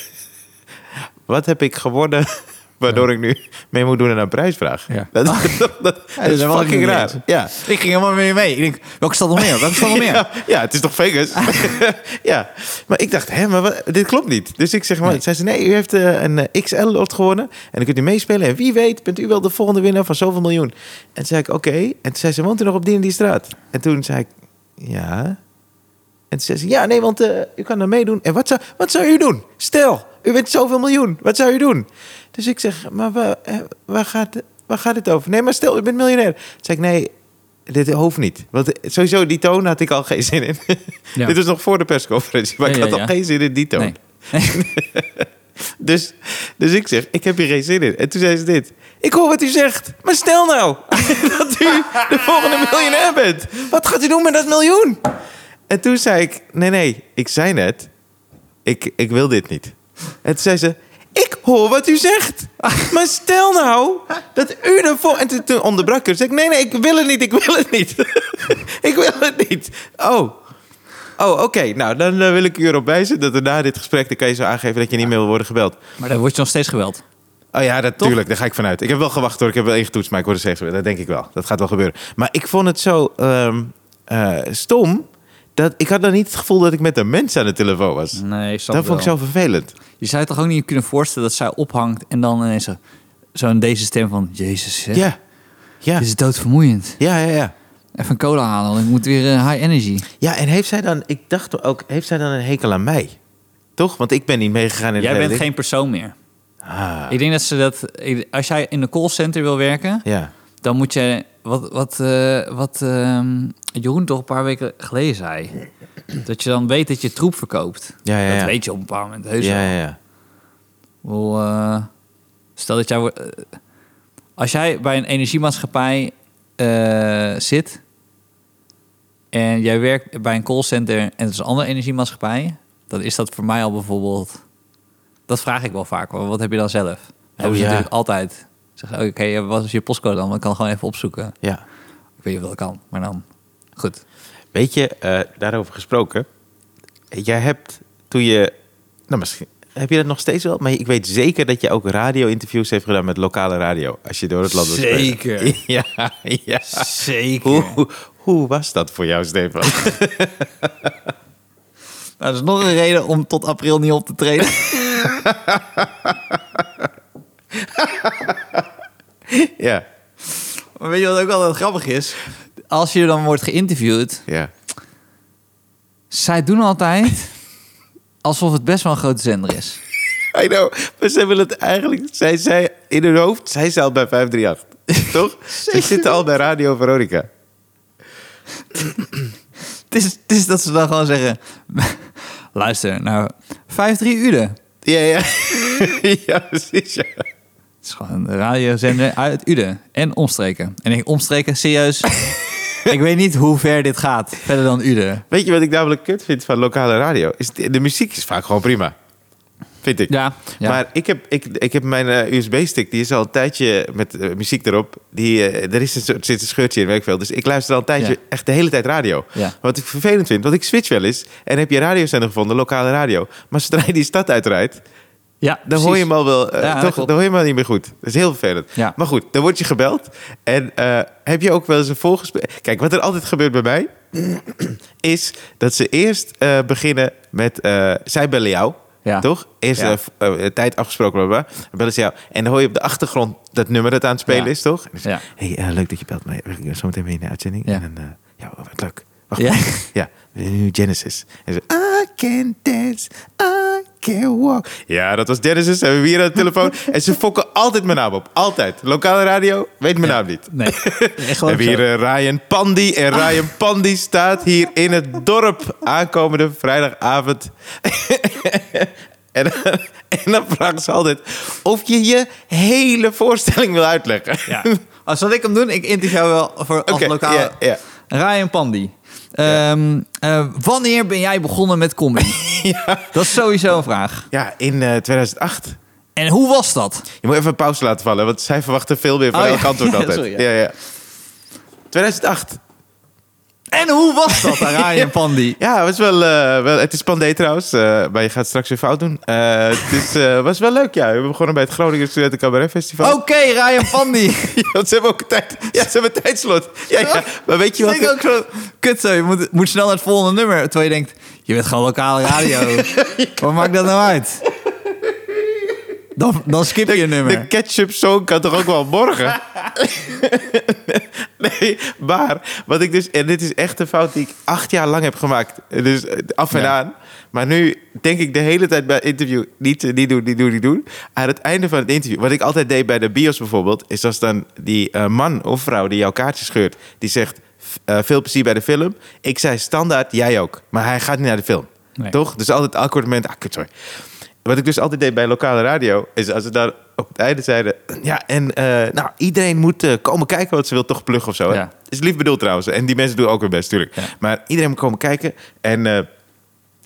wat heb ik gewonnen... Waardoor ik nu mee moet doen aan een prijsvraag.
Ja.
Dat, dat, dat is
daar was ik
fucking
niet
raar.
eens.
Ja.
Ik ging helemaal mee mee. Ik denk, welke stad nog meer? Welke stad nog meer?
Ja, ja, het is toch Vegas? ja. Maar ik dacht, hè, maar wat- dit klopt niet. Dus ik zeg, maar,
Nee.
zei ze, nee, u heeft eh, een eh, XL-lot gewonnen. En dan kunt u meespelen. En wie weet, bent u wel de volgende winnaar van zoveel miljoen. En toen zei ik, oké. En toen zei ze, woont u nog op die en die straat? En toen zei ik, ja. En toen zei ze, ja, nee, want eh, u kan er meedoen. En wat zou, wat zou u doen? Stel, u wint zoveel miljoen. Wat zou u doen? Dus ik zeg, maar waar, eh, waar, gaat, waar gaat dit over? Nee, maar stel, u bent miljonair. Toen zei ik, nee, dit hoeft niet. Want eh, sowieso, die toon had ik al geen zin in.
Ja.
Dit was nog voor de persconferentie, maar
Ja,
ik
ja,
had
ja.
al geen zin in die toon.
Nee.
Dus, dus ik zeg, ik heb hier geen zin in. En toen zei ze dit. Ik hoor wat u zegt, maar stel nou dat u de volgende miljonair bent. Wat gaat u doen met dat miljoen? En toen zei ik, nee, nee, ik zei net, ik, ik wil dit niet. En toen zei ze, ik hoor wat u zegt. Maar stel nou dat u de vol En toen, toen onderbrak ik haar. Toen zei ik, nee, nee, ik wil het niet, ik wil het niet. ik wil het niet. Oh, oh oké. Nou, dan eh, wil ik u erop wijzen dat er na dit gesprek... dan kan je zo aangeven dat je niet meer wil worden gebeld.
Maar dan word je nog steeds geweld.
Oh ja, natuurlijk. Daar ga ik vanuit. Ik heb wel gewacht hoor. Ik heb wel ingetoetst, maar ik word er steeds weer. Dat denk ik wel. Dat gaat wel gebeuren. Maar ik vond het zo ehm, eh, stom. Dat ik had dan niet het gevoel dat ik met een mens aan de telefoon was.
Nee, ik Mm,
dat
snap het
vond ik
wel.
zo vervelend.
Je zou je toch ook niet kunnen voorstellen dat zij ophangt... en dan ineens zo- zo'n deze stem van... Jezus, hè,
Ja. Ja.
dit is doodvermoeiend.
Ja, ja, ja.
Even een cola halen, want ik moet weer eh, high energy.
Ja, en heeft zij dan... Ik dacht ook, heeft zij dan een hekel aan mij? Toch? Want ik ben niet meegegaan in de
Jij
hele
bent
ding.
geen persoon meer.
Ah,
Ik denk dat ze dat... ik- Als jij in een callcenter wil werken,
ja.
dan moet je... Wat, wat, eh, wat ehm, Jeroen toch een paar weken geleden zei. Dat je dan weet dat je troep verkoopt.
Ja, ja, ja.
Dat weet je op een bepaald moment. Heus
Ja,
wel.
ja, ja.
Wel, eh, stel dat jij... wordt- eh, als jij bij een energiemaatschappij eh, zit... en jij werkt bij een callcenter en het is een andere energiemaatschappij... dan is dat voor mij al bijvoorbeeld... Dat vraag ik wel vaak, hoor. wat heb je dan zelf? Dat hebben ze
ja.
natuurlijk altijd. Zeggen, oké, eh, wat is je postcode dan? Want ik kan gewoon even opzoeken.
ja.
Ik weet niet of dat kan, maar dan... Goed.
Weet je, eh, daarover gesproken. eh, Jij hebt toen je. Nou, misschien. Heb je dat nog steeds wel? Maar ik weet zeker dat je ook radio-interviews heeft gedaan met lokale radio. Als je door het land wilt spelen.
Zeker.
Ja, ja.
Zeker.
Hoe, hoe, Hoe was dat voor jou, Stefan?
Nou, dat is nog een reden om tot april niet op te treden.
ja,
Maar weet je wat ook altijd grappig is? Als je dan wordt geïnterviewd,
ja.
zij doen altijd alsof het best wel een grote zender is.
I know. Maar zij willen het eigenlijk... Zij, zij, in hun hoofd, zij zijn al bij 538. Toch? Ze zitten al bij Radio Veronica.
Het is, het is dat ze dan gewoon zeggen... Luister, nou, 5-3 Ude. Het
Ja, ja. ja, precies, ja.
is gewoon een radiozender uit Ude en omstreken. En ik omstreken, serieus... ik weet niet hoe ver dit gaat, verder dan Ude.
Weet je wat ik namelijk kut vind van lokale radio? Is de, de muziek is vaak gewoon prima. Vind ik.
Ja, ja.
Maar ik heb, ik, ik heb mijn eh, USB-stick, die is al een tijdje met eh, muziek erop. Die, eh, er is een, soort- zit een scheurtje in, weet ik veel. Dus ik luister al een tijdje
Ja.
echt de hele tijd radio.
Ja.
Wat ik vervelend vind, want ik switch wel eens. En heb je radiozender gevonden, lokale radio. Maar zodra je die stad uitrijdt,
Ja,
dan hoor je hem al wel, eh,
Ja, dat
toch,
klopt.
dan hoor je hem al niet meer goed. Dat is heel vervelend.
Ja.
Maar goed, dan word je gebeld. En eh, heb je ook wel eens een volgesprek? Kijk, wat er altijd gebeurt bij mij, is dat ze eerst eh, beginnen met, eh, zij bellen jou.
Ja.
Toch? Eerst
Ja.
eh, v- eh, tijd afgesproken, bla, bla, bla. Dan bellen ze jou. En dan hoor je op de achtergrond dat nummer dat aan het spelen
Ja.
is, toch? En dan zeg je,
Ja.
hey, eh, leuk dat je belt. Maar ik ben zo meteen mee in de uitzending.
Ja.
En dan, eh, ja, wat leuk. Wacht
Ja.
even. Ja, we zijn nu Genesis. En ze, I can dance, I can walk. Ja, dat was Genesis. Hebben we hier aan de telefoon. en ze fokken altijd mijn naam op. Altijd. Lokale radio, weet mijn naam niet.
Nee, echt
We
geloof
hebben
ik
hier
zo. Ah.
eh, Ryan Pandy. En Ryan Pandy staat hier in het dorp aankomende vrijdagavond. en, dan- en dan vragen ze altijd of je je hele voorstelling wil uitleggen.
Ja. Oh, zal ik hem doen? Ik interview wel voor als
Oké,
lokale...
ja, ja.
Ryan Pandy. Ehm, eh, wanneer ben jij begonnen met comedy? Dat is sowieso een vraag.
Ja, in eh, 2008.
En hoe was dat?
Je moet even een pauze laten vallen, want zij verwachten veel meer van
Oh,
elk
ja.
antwoord
Ja,
altijd.
sorry, ja.
ja. Ja, 2008.
En hoe was dat, Ryan Pandy?
Ja, was wel, eh, wel, het is pandé trouwens, eh, maar je gaat het straks weer fout doen. Eh, het is, eh, was wel leuk, ja. We begonnen bij het Groningen Studenten Cabaret Festival.
Oké, Ryan Pandy.
Oh, Ja, want ze hebben ook een tijd. Ja, ze hebben een tijdslot. Ja, ja. Maar weet je
Ik denk
wat?
ook zo, kut zo, je moet, moet snel naar het volgende nummer. Terwijl je denkt, je bent gewoon lokale radio. Wat maakt dat nou uit? Dan, dan skip je een nummer.
De ketchup zoon kan toch ook wel morgen? nee, maar wat ik dus... En dit is echt een fout die ik acht jaar lang heb gemaakt. Dus eh, af en
Ja.
aan. Maar nu denk ik de hele tijd bij het interview... Niet, eh, niet doen, niet doen, niet doen. Aan het einde van het interview... Wat ik altijd deed bij de bios bijvoorbeeld... Is als dan die eh, man of vrouw die jouw kaartje scheurt... Die zegt... eh, veel plezier bij de film. Ik zei standaard, jij ook. Maar hij gaat niet naar de film.
Nee.
Toch? Dus altijd elk moment... Ah, kut, sorry. Wat ik dus altijd deed bij lokale radio, is als ze daar op het einde zeiden... Ja, en eh, nou, iedereen moet eh, komen kijken, want ze wil toch pluggen of zo. hè?
Ja.
Is lief bedoeld trouwens. En die mensen doen ook hun best, natuurlijk. Maar iedereen moet komen kijken. En eh,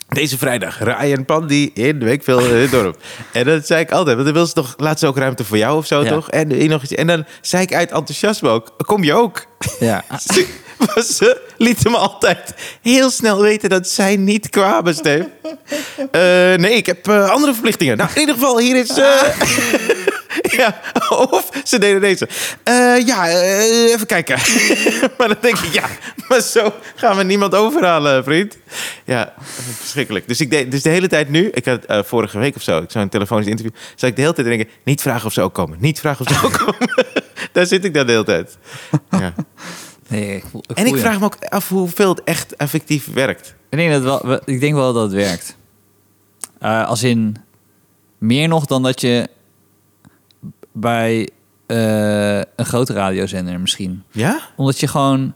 deze vrijdag, Ryan Pandy in Weekveel in het dorp. en dat zei ik altijd, want dan wil ze toch... Laat ze ook ruimte voor jou of zo,
Ja.
toch? En, hier nog iets. en dan zei ik uit enthousiasme ook, kom je ook?
Ja.
Ze, maar ze lieten me altijd heel snel weten dat zij niet kwamen, Steve. Eh, nee, ik heb eh, andere verplichtingen. Nou, in ieder geval, hier is... eh, ja, of ze deden deze. Eh, ja, eh, even kijken. maar dan denk ik, ja, maar zo gaan we niemand overhalen, vriend. Ja, verschrikkelijk. Dus, ik deed, dus de hele tijd nu, ik had eh, vorige week of zo, ik zou een telefonisch interview, zou ik de hele tijd denken, niet vragen of ze ook komen. Niet vragen of ze ook komen. Daar zit ik dan de hele tijd. Ja.
Nee, ik voel-
En
voel
ik
je.
vraag me ook af hoeveel het echt effectief werkt.
Ik denk, dat wel, we- ik denk wel dat het werkt. Eh, als in meer nog dan dat je bij eh, een grote radiozender misschien.
Ja?
Omdat je gewoon.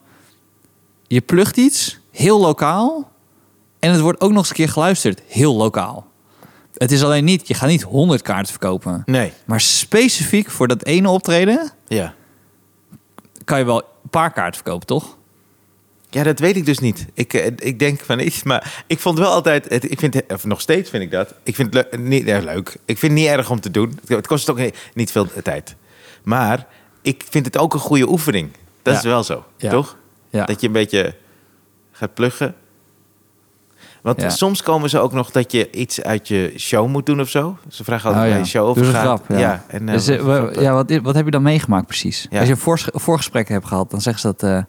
Je plugt iets heel lokaal. En het wordt ook nog eens een keer geluisterd heel lokaal. Het is alleen niet, je gaat niet 100 kaarten verkopen.
Nee.
Maar specifiek voor dat ene optreden
Ja.
kan je wel een paar kaarten verkopen, toch?
Ja, dat weet ik dus niet. Ik, eh, ik denk van iets, maar ik vond wel altijd... Het, ik vind, of nog steeds vind ik dat. Ik vind het leu- niet eh, leuk. Ik vind het niet erg om te doen. Het, het kost ook niet- niet veel tijd. Maar ik vind het ook een goede oefening. Dat
Ja.
is wel zo,
Ja.
toch?
Ja.
Dat je een beetje gaat pluggen. Want
Ja.
soms komen ze ook nog dat je iets uit je show moet doen of zo. Ze vragen altijd bij je show of
Doe
het
eens Oh Dus een
gaat.
grap, ja.
en, eh,
Dus, eh,
wat-
wa- ja, wat, wat heb je dan meegemaakt precies?
Ja.
Als je een voors- voorgesprek hebt gehad, dan zeggen ze dat... eh,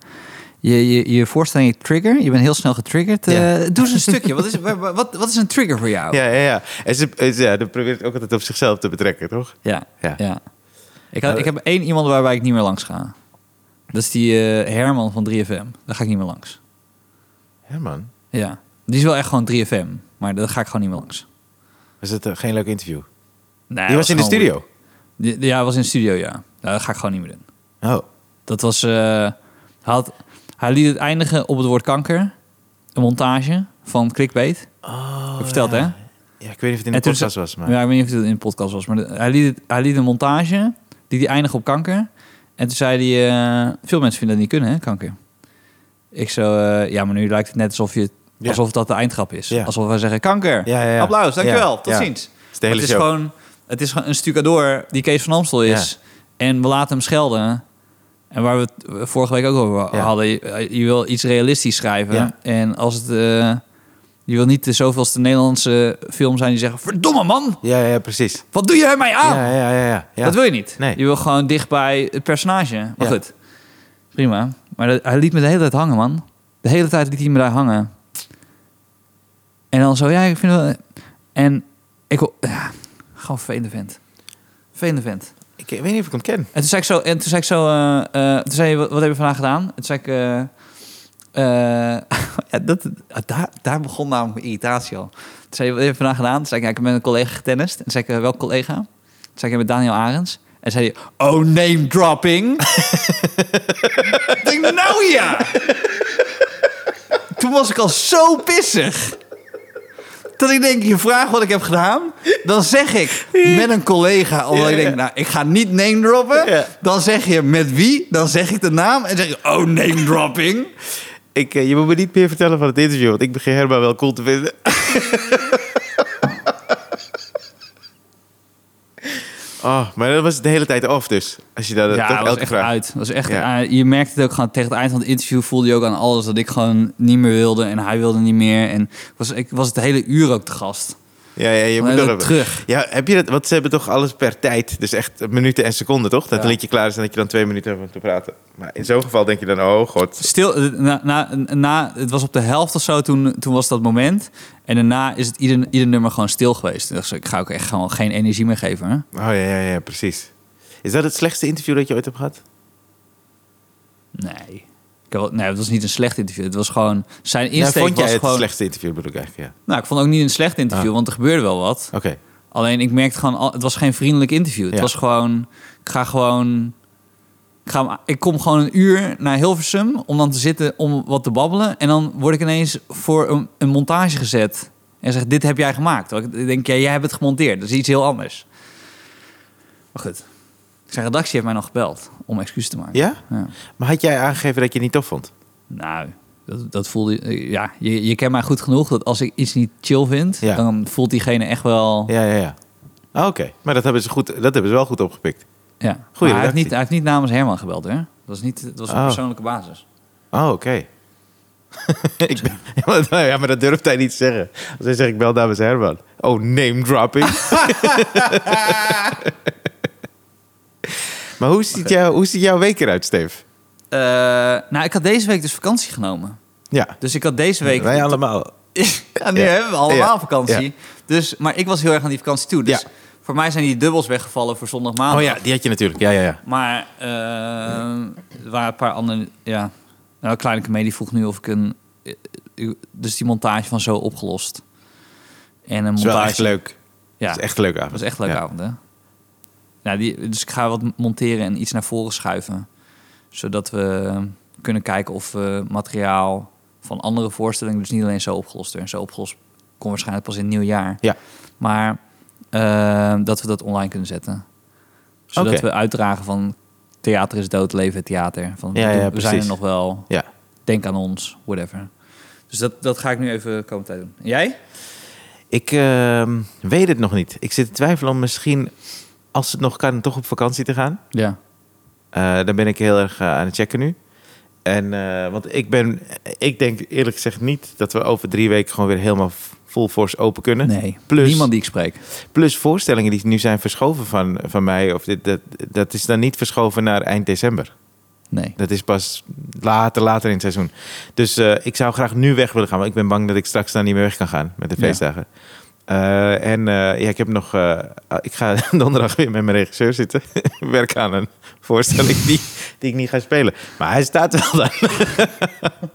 je, je, je voorstelling trigger. Je bent heel snel getriggerd. Eh,
Ja.
doe eens een stukje. Wat is, wa- wa- wat, wat is een trigger voor jou?
Ja, ja, ja. En ze, en ze- ja, dat probeert het ook altijd op zichzelf te betrekken, toch?
Ja. ja.
Ja. Nou, eh,
Ik, had- ik heb één iemand waarbij ik niet meer langs ga. Dat is die eh, Herman van 3FM. Daar ga ik niet meer langs.
Ja, man.
Ja. Die is wel echt gewoon 3FM. Maar daar ga ik gewoon niet meer langs.
Was het eh, geen leuk interview?
Nee,
Die was in de
gewoon
studio.
weird. Die- Ja, hij was in de studio, ja. Nou, dat ga ik gewoon niet meer doen.
Oh.
Dat was... eh, hij, had, hij liet het eindigen op het woord kanker. Een montage van Clickbait.
oh
ik verteld,
ja.
hè?
Ja, ik weet niet of het in de
En toen
podcast
ze-
was, maar...
Ja, ik weet niet of het in de podcast was. Maar de- hij, liet het- hij liet een montage die die eindigde op kanker. En toen zei hij... eh, veel mensen vinden dat niet kunnen, hè, kanker. Ik zo... eh, ja, maar nu lijkt het net alsof, je,
Ja.
alsof dat de eindgrap is.
Ja.
Alsof wij zeggen, kanker.
Ja, ja, ja.
Applaus, dankjewel.
Ja,
Tot
ja.
ziens.
Het is de hele
het is
show.
gewoon... Het is gewoon een stucadoor die Kees van Amstel is. En we laten hem schelden. En waar we het vorige week ook over
Ja.
hadden. Je, je wil iets realistisch schrijven.
Ja.
En als het... eh, je wil niet de zoveelste Nederlandse film zijn die zeggen... Verdomme man,
Ja, ja, ja, precies.
wat doe jij mij aan?
Ja, ja, ja, ja, ja.
Dat wil je niet.
Nee.
Je wil gewoon dicht bij het personage. Maar
Ja.
goed, prima. Maar dat- hij liet me de hele tijd hangen, man. De hele tijd liet hij me daar hangen. En dan zo, ja, ik vind wel... En ik... wil- Ja, gewoon vervelende vent. Vervelende vent.
Ik eh, weet niet of ik hem ken.
En toen zei ik zo, en toen zei ik zo, eh, eh, toen zei je, wat, wat heb je vandaag gedaan? En toen zei ik, eh, eh, ja, dat, daar, daar begon namelijk mijn irritatie al. Toen zei je, wat heb je vandaag gedaan? Toen zei ik, ja, ik heb met een collega getennist. En toen zei ik, eh, welke collega? Toen zei ik, met Daniel Arends. En zei hij, oh, name dropping. ik denk, nou ja. toen was ik al zo pissig. Dat ik denk, je vraagt wat ik heb gedaan. Dan zeg ik met een collega. Omdat
Ja,
ik denk,
ja.
nou, ik ga niet name droppen.
Ja.
Dan zeg je met wie. Dan zeg ik de naam. En zeg je, oh, name dropping.
Ik, eh, je moet me niet meer vertellen van het interview, want ik begin Herba wel cool te vinden. oh, maar dat was de hele tijd af dus. Als je dat
ja,
toch
dat was
elke
echt
vraag...
uit. Dat was echt,
Ja.
eh, je merkte het ook gewoon tegen het eind van het interview voelde je ook aan alles dat ik gewoon niet meer wilde en hij wilde niet meer. En ik was, ik was het hele uur ook te gast.
Ja, ja, je
Maar
moet
dat
nog even-
terug.
Ja, heb je dat? Want ze hebben toch alles per tijd. Dus echt minuten en seconden, toch? Dat
Ja.
een liedje klaar is en dat je dan twee minuten hebt om te praten. Maar in zo'n geval denk je dan, oh god.
Stil, eh, na, na, na, het was op de helft of zo, toen, toen was dat moment. En daarna is het ieder, ieder nummer gewoon stil geweest. Toen dacht ik, ik ga ook echt gewoon geen energie meer geven. Hè?
Oh ja, ja, ja, precies. Is dat het slechtste interview dat je ooit hebt gehad?
Nee. Ik heb wel- nee, het was niet een slecht interview. Het was gewoon, zijn
Ja,
insteek
Nou, vond jij
was
het Ah.
gewoon...
slechtste interview, bedoel ik eigenlijk, ja.
Nou, ik vond het ook niet een slecht interview, want er gebeurde wel wat.
Oké.
Alleen ik merkte gewoon, al- het was geen vriendelijk interview. Het
Ja.
was gewoon, ik ga gewoon, ik, ga, hem- ik kom gewoon een uur naar Hilversum om dan te zitten om wat te babbelen. En dan word ik ineens voor een, een montage gezet en zeg, dit heb jij gemaakt. Terwijl Ik denk, ja, jij hebt het gemonteerd, dat is iets heel anders. Maar goed, zijn redactie heeft mij nog gebeld om excuus te maken.
Ja?
Ja.
Maar had jij aangegeven dat je het niet tof vond?
Nou, dat, dat voelde, eh, ja, je, je kent mij goed genoeg dat als ik iets niet chill vind,
Ja.
dan voelt diegene echt wel...
Ja, ja, ja. Ah, Oké, maar dat hebben, ze goed, dat hebben ze wel goed opgepikt.
Ja. Maar hij, heeft
redactie.
niet, hij heeft niet namens Herman gebeld, hè? Dat was, niet, dat was op
Oh.
persoonlijke basis.
Oh, oké. Ik ben- ja, maar- nou ja, maar dat durft hij niet te zeggen. Als hij zegt, ik bel dames Herman. Oh, name dropping. maar hoe ziet, jou, hoe ziet jouw week eruit, Steve?
Eh, nou, ik had deze week dus vakantie genomen.
Ja,
Dus ik had deze week...
wij allemaal.
ja, nu
Ja.
hebben we allemaal
Ja.
vakantie.
Ja.
Dus, maar ik was heel erg aan die vakantie toe. Dus
Ja.
voor mij zijn die dubbels weggevallen voor zondag maandag.
Oh ja, die had je natuurlijk. Ja, ja, ja.
Maar eh, er waren een paar andere... Ja, nou, Kleine Comedie vroeg nu of ik een... eh, eh, Dus die montage van Zo opgelost. En een
is
montage...
wel echt leuk.
Ja.
Dat is echt een leuke avond.
Dat was echt een leuke
Ja.
avond, hè? Nou, die, dus ik ga wat monteren en iets naar voren schuiven. Zodat we kunnen kijken of we materiaal van andere voorstellingen... dus niet alleen zo opgelost en zo opgelost komt waarschijnlijk pas in het nieuwe jaar.
Ja.
Maar eh, dat we dat online kunnen zetten. Zodat
Oké.
we uitdragen van theater is dood, leven het theater. Van,
Ja, ja,
we zijn
precies.
er nog wel,
Ja.
denk aan ons, whatever. Dus dat, dat ga ik nu even komend tijd doen. En Jij?
Ik ehm, weet het nog niet. Ik zit te twijfelen om misschien, als het nog kan, toch op vakantie te gaan.
Ja.
Eh, daar ben ik heel erg eh, aan het checken nu. En, eh, want ik ben, ik denk eerlijk gezegd niet dat we over drie weken gewoon weer helemaal full force open kunnen.
Nee,
Plus-
niemand die ik spreek.
Plus voorstellingen die nu zijn verschoven van, van mij, of dit, dat, dat is dan niet verschoven naar eind december.
Nee.
Dat is pas later, later in het seizoen. Dus eh, ik zou graag nu weg willen gaan. Maar ik ben bang dat ik straks dan niet meer weg kan gaan met de
Ja.
feestdagen. Eh, en eh, ja, ik heb nog. eh, ik ga donderdag weer met mijn regisseur zitten. Werk aan een voorstelling die, die ik niet ga spelen. Maar hij staat wel daar.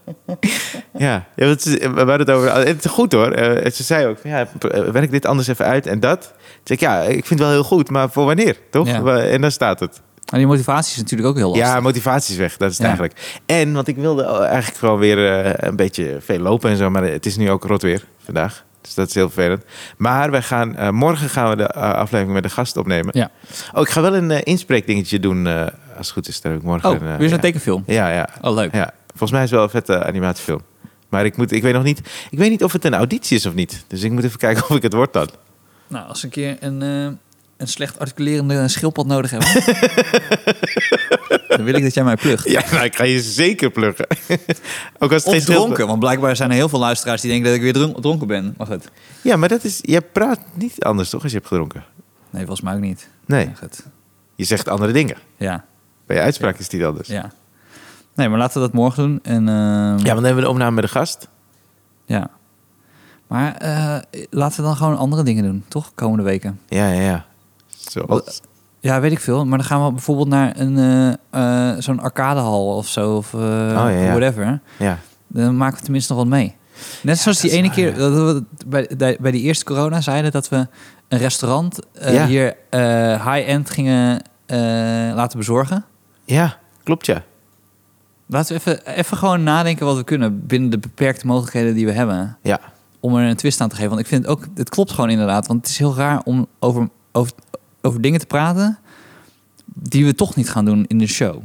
ja, ja, want ze- we hadden het over. Het is goed hoor. Eh, ze zei ook: van, ja, p- eh, werk dit anders even uit en dat. Toen zei ik, ja, ik vind het wel heel goed, maar voor wanneer? Toch?
Ja.
Wa- En dan staat het.
Maar die motivatie is natuurlijk ook heel lastig.
Ja, motivatie is weg. Dat is het
Ja.
eigenlijk. En, want ik wilde eigenlijk gewoon weer eh, een beetje veel lopen en zo. Maar het is nu ook rot weer vandaag. Dus dat is heel vervelend. Maar wij gaan, eh, morgen gaan we de eh, aflevering met de gast opnemen.
Ja.
Oh, ik ga wel een eh, inspreekdingetje doen. eh, als het goed is, daar heb ik morgen.
Oh,
een, eh,
weer zo'n
ja.
tekenfilm.
Ja, ja.
Oh, leuk.
ja. Volgens mij is het wel een vette animatiefilm. Maar ik, moet, ik weet nog niet. Ik weet niet of het een auditie is of niet. Dus ik moet even kijken of ik het word dan.
Nou, als we een keer een, eh, een slecht articulerende schildpad nodig hebben... dan wil ik dat jij mij plucht.
Ja, nou, ik ga je zeker pluggen. Ook als het geen
Of
filmpje-
dronken, want blijkbaar zijn er heel veel luisteraars die denken dat ik weer dron- dronken ben. Maar goed.
Ja, maar dat is. Jij praat niet anders toch als je hebt gedronken?
Nee, volgens mij ook niet.
Nee.
Ja, goed.
Je zegt andere dingen.
Ja,
Bij je uitspraak is dus. het niet anders. Ja,
ja. Nee, maar laten we dat morgen doen. En, eh,
want dan hebben we de opname met de gast.
ja. Maar eh, laten we dan gewoon andere dingen doen, toch? Komende weken.
Ja, ja, ja. Zoals...
Ja, weet ik veel. Maar dan gaan we bijvoorbeeld naar een, eh, eh, zo'n arcadehal of zo. Of eh,
Oh, ja, ja.
whatever.
Ja.
Dan maken we tenminste nog wat mee. Net zoals die
dat is
ene
waar,
keer dat we bij, bij, bij die eerste corona zeiden dat we een restaurant eh,
Ja.
hier eh, high-end gingen eh, laten bezorgen.
ja, klopt ja.
Laten we even, even gewoon nadenken wat we kunnen binnen de beperkte mogelijkheden die we hebben.
Ja,
Om er een twist aan te geven. Want ik vind het ook, het klopt gewoon inderdaad. Want het is heel raar om over, over, over dingen te praten die we toch niet gaan doen in de show.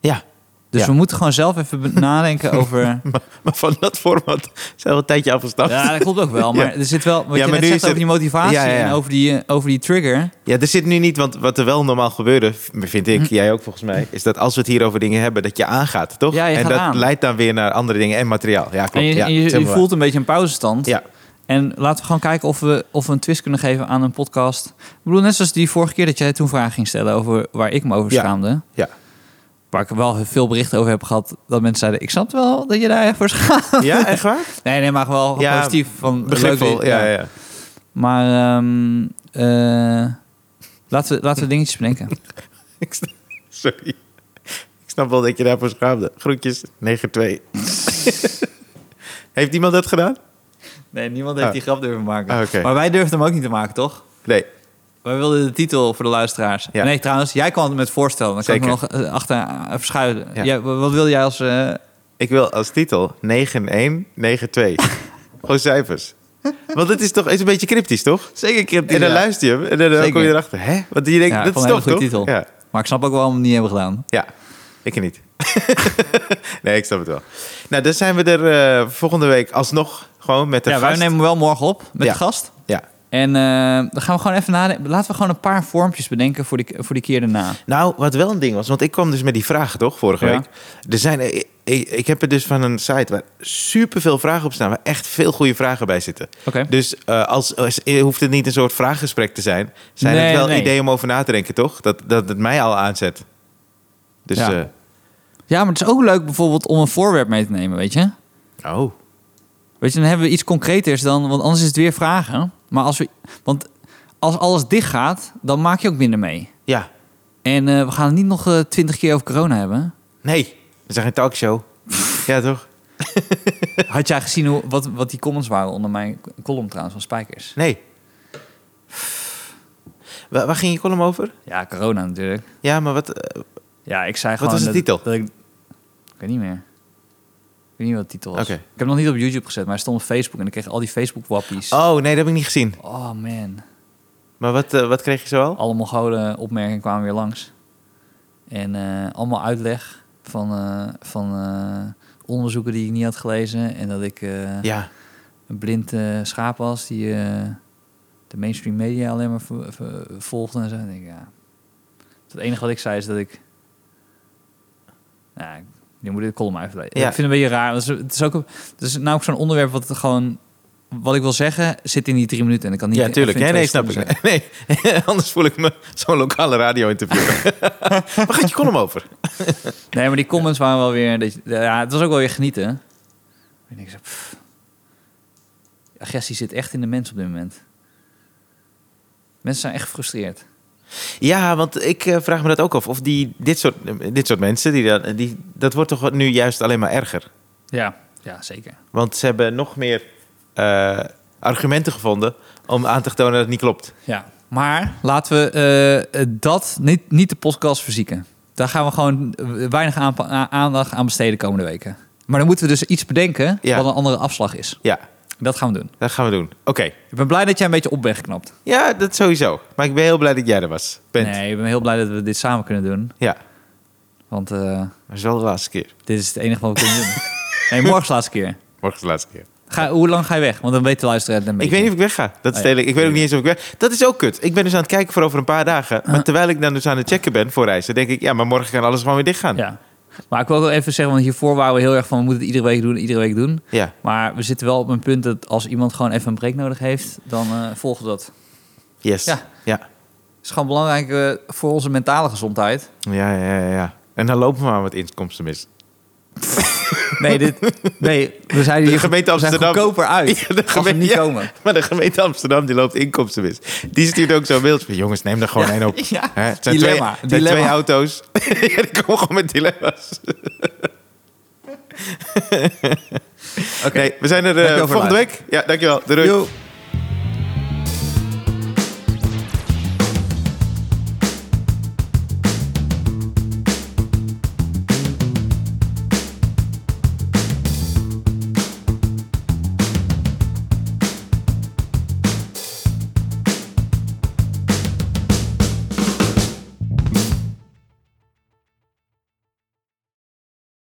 ja.
Dus
Ja.
we moeten gewoon zelf even be- nadenken over.
Maar, maar van dat format zijn we al een tijdje afgestapt.
Ja,
Ja.
dat klopt ook wel. Maar
Ja.
er zit wel. Wat
Ja, maar
je net
nu
zegt
is het-
over die motivatie
Ja, ja, ja.
en over die, eh, over die trigger.
er zit nu niet, want wat er wel normaal gebeurde, vind ik,
Hm.
jij ook volgens mij, is dat als we het hier over dingen hebben, dat je aangaat, toch?
Ja, je
en
gaat
dat
aan.
leidt dan weer naar andere dingen en materiaal. Ja, klopt.
en
ja,
je, en
dat is
je, je
helemaal
voelt een beetje een pauzestand.
waar. Ja,
En laten we gewoon kijken of we, of we een twist kunnen geven aan een podcast. Ik bedoel, net zoals die vorige keer dat jij toen vragen ging stellen over waar ik me over
Ja.
schaamde.
ja.
Waar ik wel veel berichten over heb gehad. Dat mensen zeiden, ik snap wel dat je daar echt voor schaamt.
Ja, echt waar?
Nee, nee, maar wel
Ja,
positief. Van,
Begripvol,
leuk,
ja, ja.
Maar ehm, eh, laten, we, laten we dingetjes bedenken.
Ik snap- Sorry. Ik snap wel dat je daarvoor schaamde. Groetjes, 9-2. Heeft iemand dat gedaan?
Nee, niemand heeft
Ah.
die grap durven maken.
Ah, oké.
Maar wij durfden hem ook niet te maken, toch?
Nee.
Wij wilden de titel voor de luisteraars.
Ja.
Nee, trouwens, jij kwam met voorstellen. Dan kan ik me nog eh, achter eh, verschuilen.
Ja.
Jij- wat wilde jij als... eh,
Ik wil als titel 9-1, 9-2. Gewoon cijfers. Want het is toch is een beetje cryptisch, toch?
Zeker cryptisch.
En dan
ja.
luister je hem en dan
Zeker.
kom je erachter. Hè? Want je denkt,
Ja,
dat
ik
is
vond
toch,
het een
toch?
hele goede titel.
Ja.
Maar ik snap ook waarom we het niet hebben gedaan.
ja, ik niet. nee, ik snap het wel. Nou, dan zijn we er eh, volgende week alsnog gewoon met de
Ja, wij
gast.
nemen hem wel morgen op met
Ja.
de gast.
Ja.
En eh, dan gaan we gewoon even nadenken. Laten we gewoon een paar vormpjes bedenken voor die, voor die keer daarna.
Nou, wat wel een ding was, want ik kwam dus met die vraag toch vorige
Ja.
week. Er zijn, ik, ik, ik heb het dus van een site waar superveel vragen op staan, waar echt veel goede vragen bij zitten.
Oké.
Dus eh, als, als- hoeft het niet een soort vraaggesprek te zijn, zijn
Nee,
het wel
nee.
ideeën om over na te denken, toch? Dat, dat het mij al aanzet. Dus,
Ja.
eh,
Ja, maar het is ook leuk bijvoorbeeld om een voorwerp mee te nemen, weet je?
oh,
Weet je, dan hebben we iets concreters dan, want anders is het weer vragen. Maar als we, want als alles dicht gaat, dan maak je ook minder mee.
ja,
En eh, we gaan het niet nog twintig keer over corona hebben.
nee, we zijn geen talkshow. ja, toch?
Had jij gezien hoe, wat, wat die comments waren onder mijn column trouwens van Spijkers?
Nee. Waar, waar ging je column over?
Ja, corona natuurlijk.
Ja, maar wat, eh,
Ja, ik zei
Wat
gewoon...
was de
dat-
titel?
Dat ik, ik weet niet meer. Ik weet niet wat de titel was.
Oké.
Ik heb hem nog niet op YouTube gezet, maar hij stond op Facebook. En ik kreeg al die Facebook-wappies.
oh nee, dat heb ik niet gezien.
Oh, man.
Maar wat, eh, wat kreeg je zoal?
Alle Mongolen opmerkingen kwamen weer langs. En eh, allemaal uitleg van, eh, van eh, onderzoeken die ik niet had gelezen. En dat ik eh,
Ja.
een blind eh, schaap was die eh, de mainstream media alleen maar vo- vo- volgde. En zo. En ik, ja. Het enige wat ik zei is dat ik... Nou, nu moet ik de column uitleiden.
Ja.
nou Ik vind het een beetje raar. want Het is, het is ook een- het is namelijk zo'n onderwerp wat het gewoon wat ik wil zeggen zit in die drie minuten. En ik kan niet
Ja, tuurlijk.
even
Nee, nee,
in twee
snap
seconden
ik. Nee, anders voel ik me zo'n lokale radio-interview. Waar gaat je column over?
zeggen. Nee, maar die comments waren wel weer... dat je- Ja, het was ook wel weer genieten. En ik zei, pff. Agressie zit echt in de mens op dit moment. Mensen zijn echt gefrustreerd.
Ja, want ik eh, vraag me dat ook af. Of die, dit, soort, eh, dit soort mensen, die, dan- die, dat wordt toch nu juist alleen maar erger?
Ja, ja zeker.
Want ze hebben nog meer eh, argumenten gevonden om aan te tonen dat het niet klopt.
Ja. Maar laten we eh, eh, dat niet, niet de podcast verzieken. Daar gaan we gewoon eh, weinig aanpa- a- aandacht aan besteden komende weken. Maar dan moeten we dus iets bedenken
Ja.
wat een andere afslag is.
Ja,
Dat gaan we doen.
dat gaan we doen. Oké.
Ik ben blij dat jij een beetje op bent geknapt.
Ja, dat sowieso. Maar ik ben heel blij dat jij er was. Bent.
Nee, ik ben heel blij dat we dit samen kunnen doen.
Ja, maar
Want eh,
dat is wel de laatste keer.
dit is het enige wat we kunnen doen. Nee, morgen is de laatste keer.
Morgen is de laatste keer.
Ga, hoe lang ga je weg? Want dan weet de luisteraar het een
Ik
beetje.
weet niet of ik wegga. Dat is
Oh ja.
het hele- Ik weet ook niet eens of ik weg. Dat is ook kut. Ik ben dus aan het kijken voor over een paar dagen.
Ah.
Maar terwijl ik dan dus aan het checken ben voor reizen, denk ik, ja, maar morgen kan alles gewoon weer dichtgaan. Ja.
Ja. Maar ik wil ook wel even zeggen, want hiervoor waren we heel erg van... we moeten het iedere week doen, iedere week doen.
ja.
Maar we zitten wel op een punt dat als iemand gewoon even een break nodig heeft... dan eh, volgen we dat.
Yes.
Ja.
Ja. Ja.
Het is gewoon belangrijk eh, voor onze mentale gezondheid.
Ja, ja, ja, En dan lopen we aan wat inkomsten mis.
Nee, dit, nee we zijn hier
De gemeente
we zijn
Amsterdam.
goedkoper uit
Ja, de
als we
gemeente-
niet
ja.
komen.
Maar de gemeente Amsterdam die loopt inkomsten mis. Die stuurt ook zo'n mailtje van, jongens, neem er gewoon één op.
ja.
Hè, het zijn
Dilemma,
Twee, het zijn
dilemma.
twee auto's. ja, die komen gewoon met dilemma's.
Oké.
Nee, we zijn er eh,
Dankjewel voor het
volgende week. eh, Ja, dankjewel. Doei. doei.
Yo.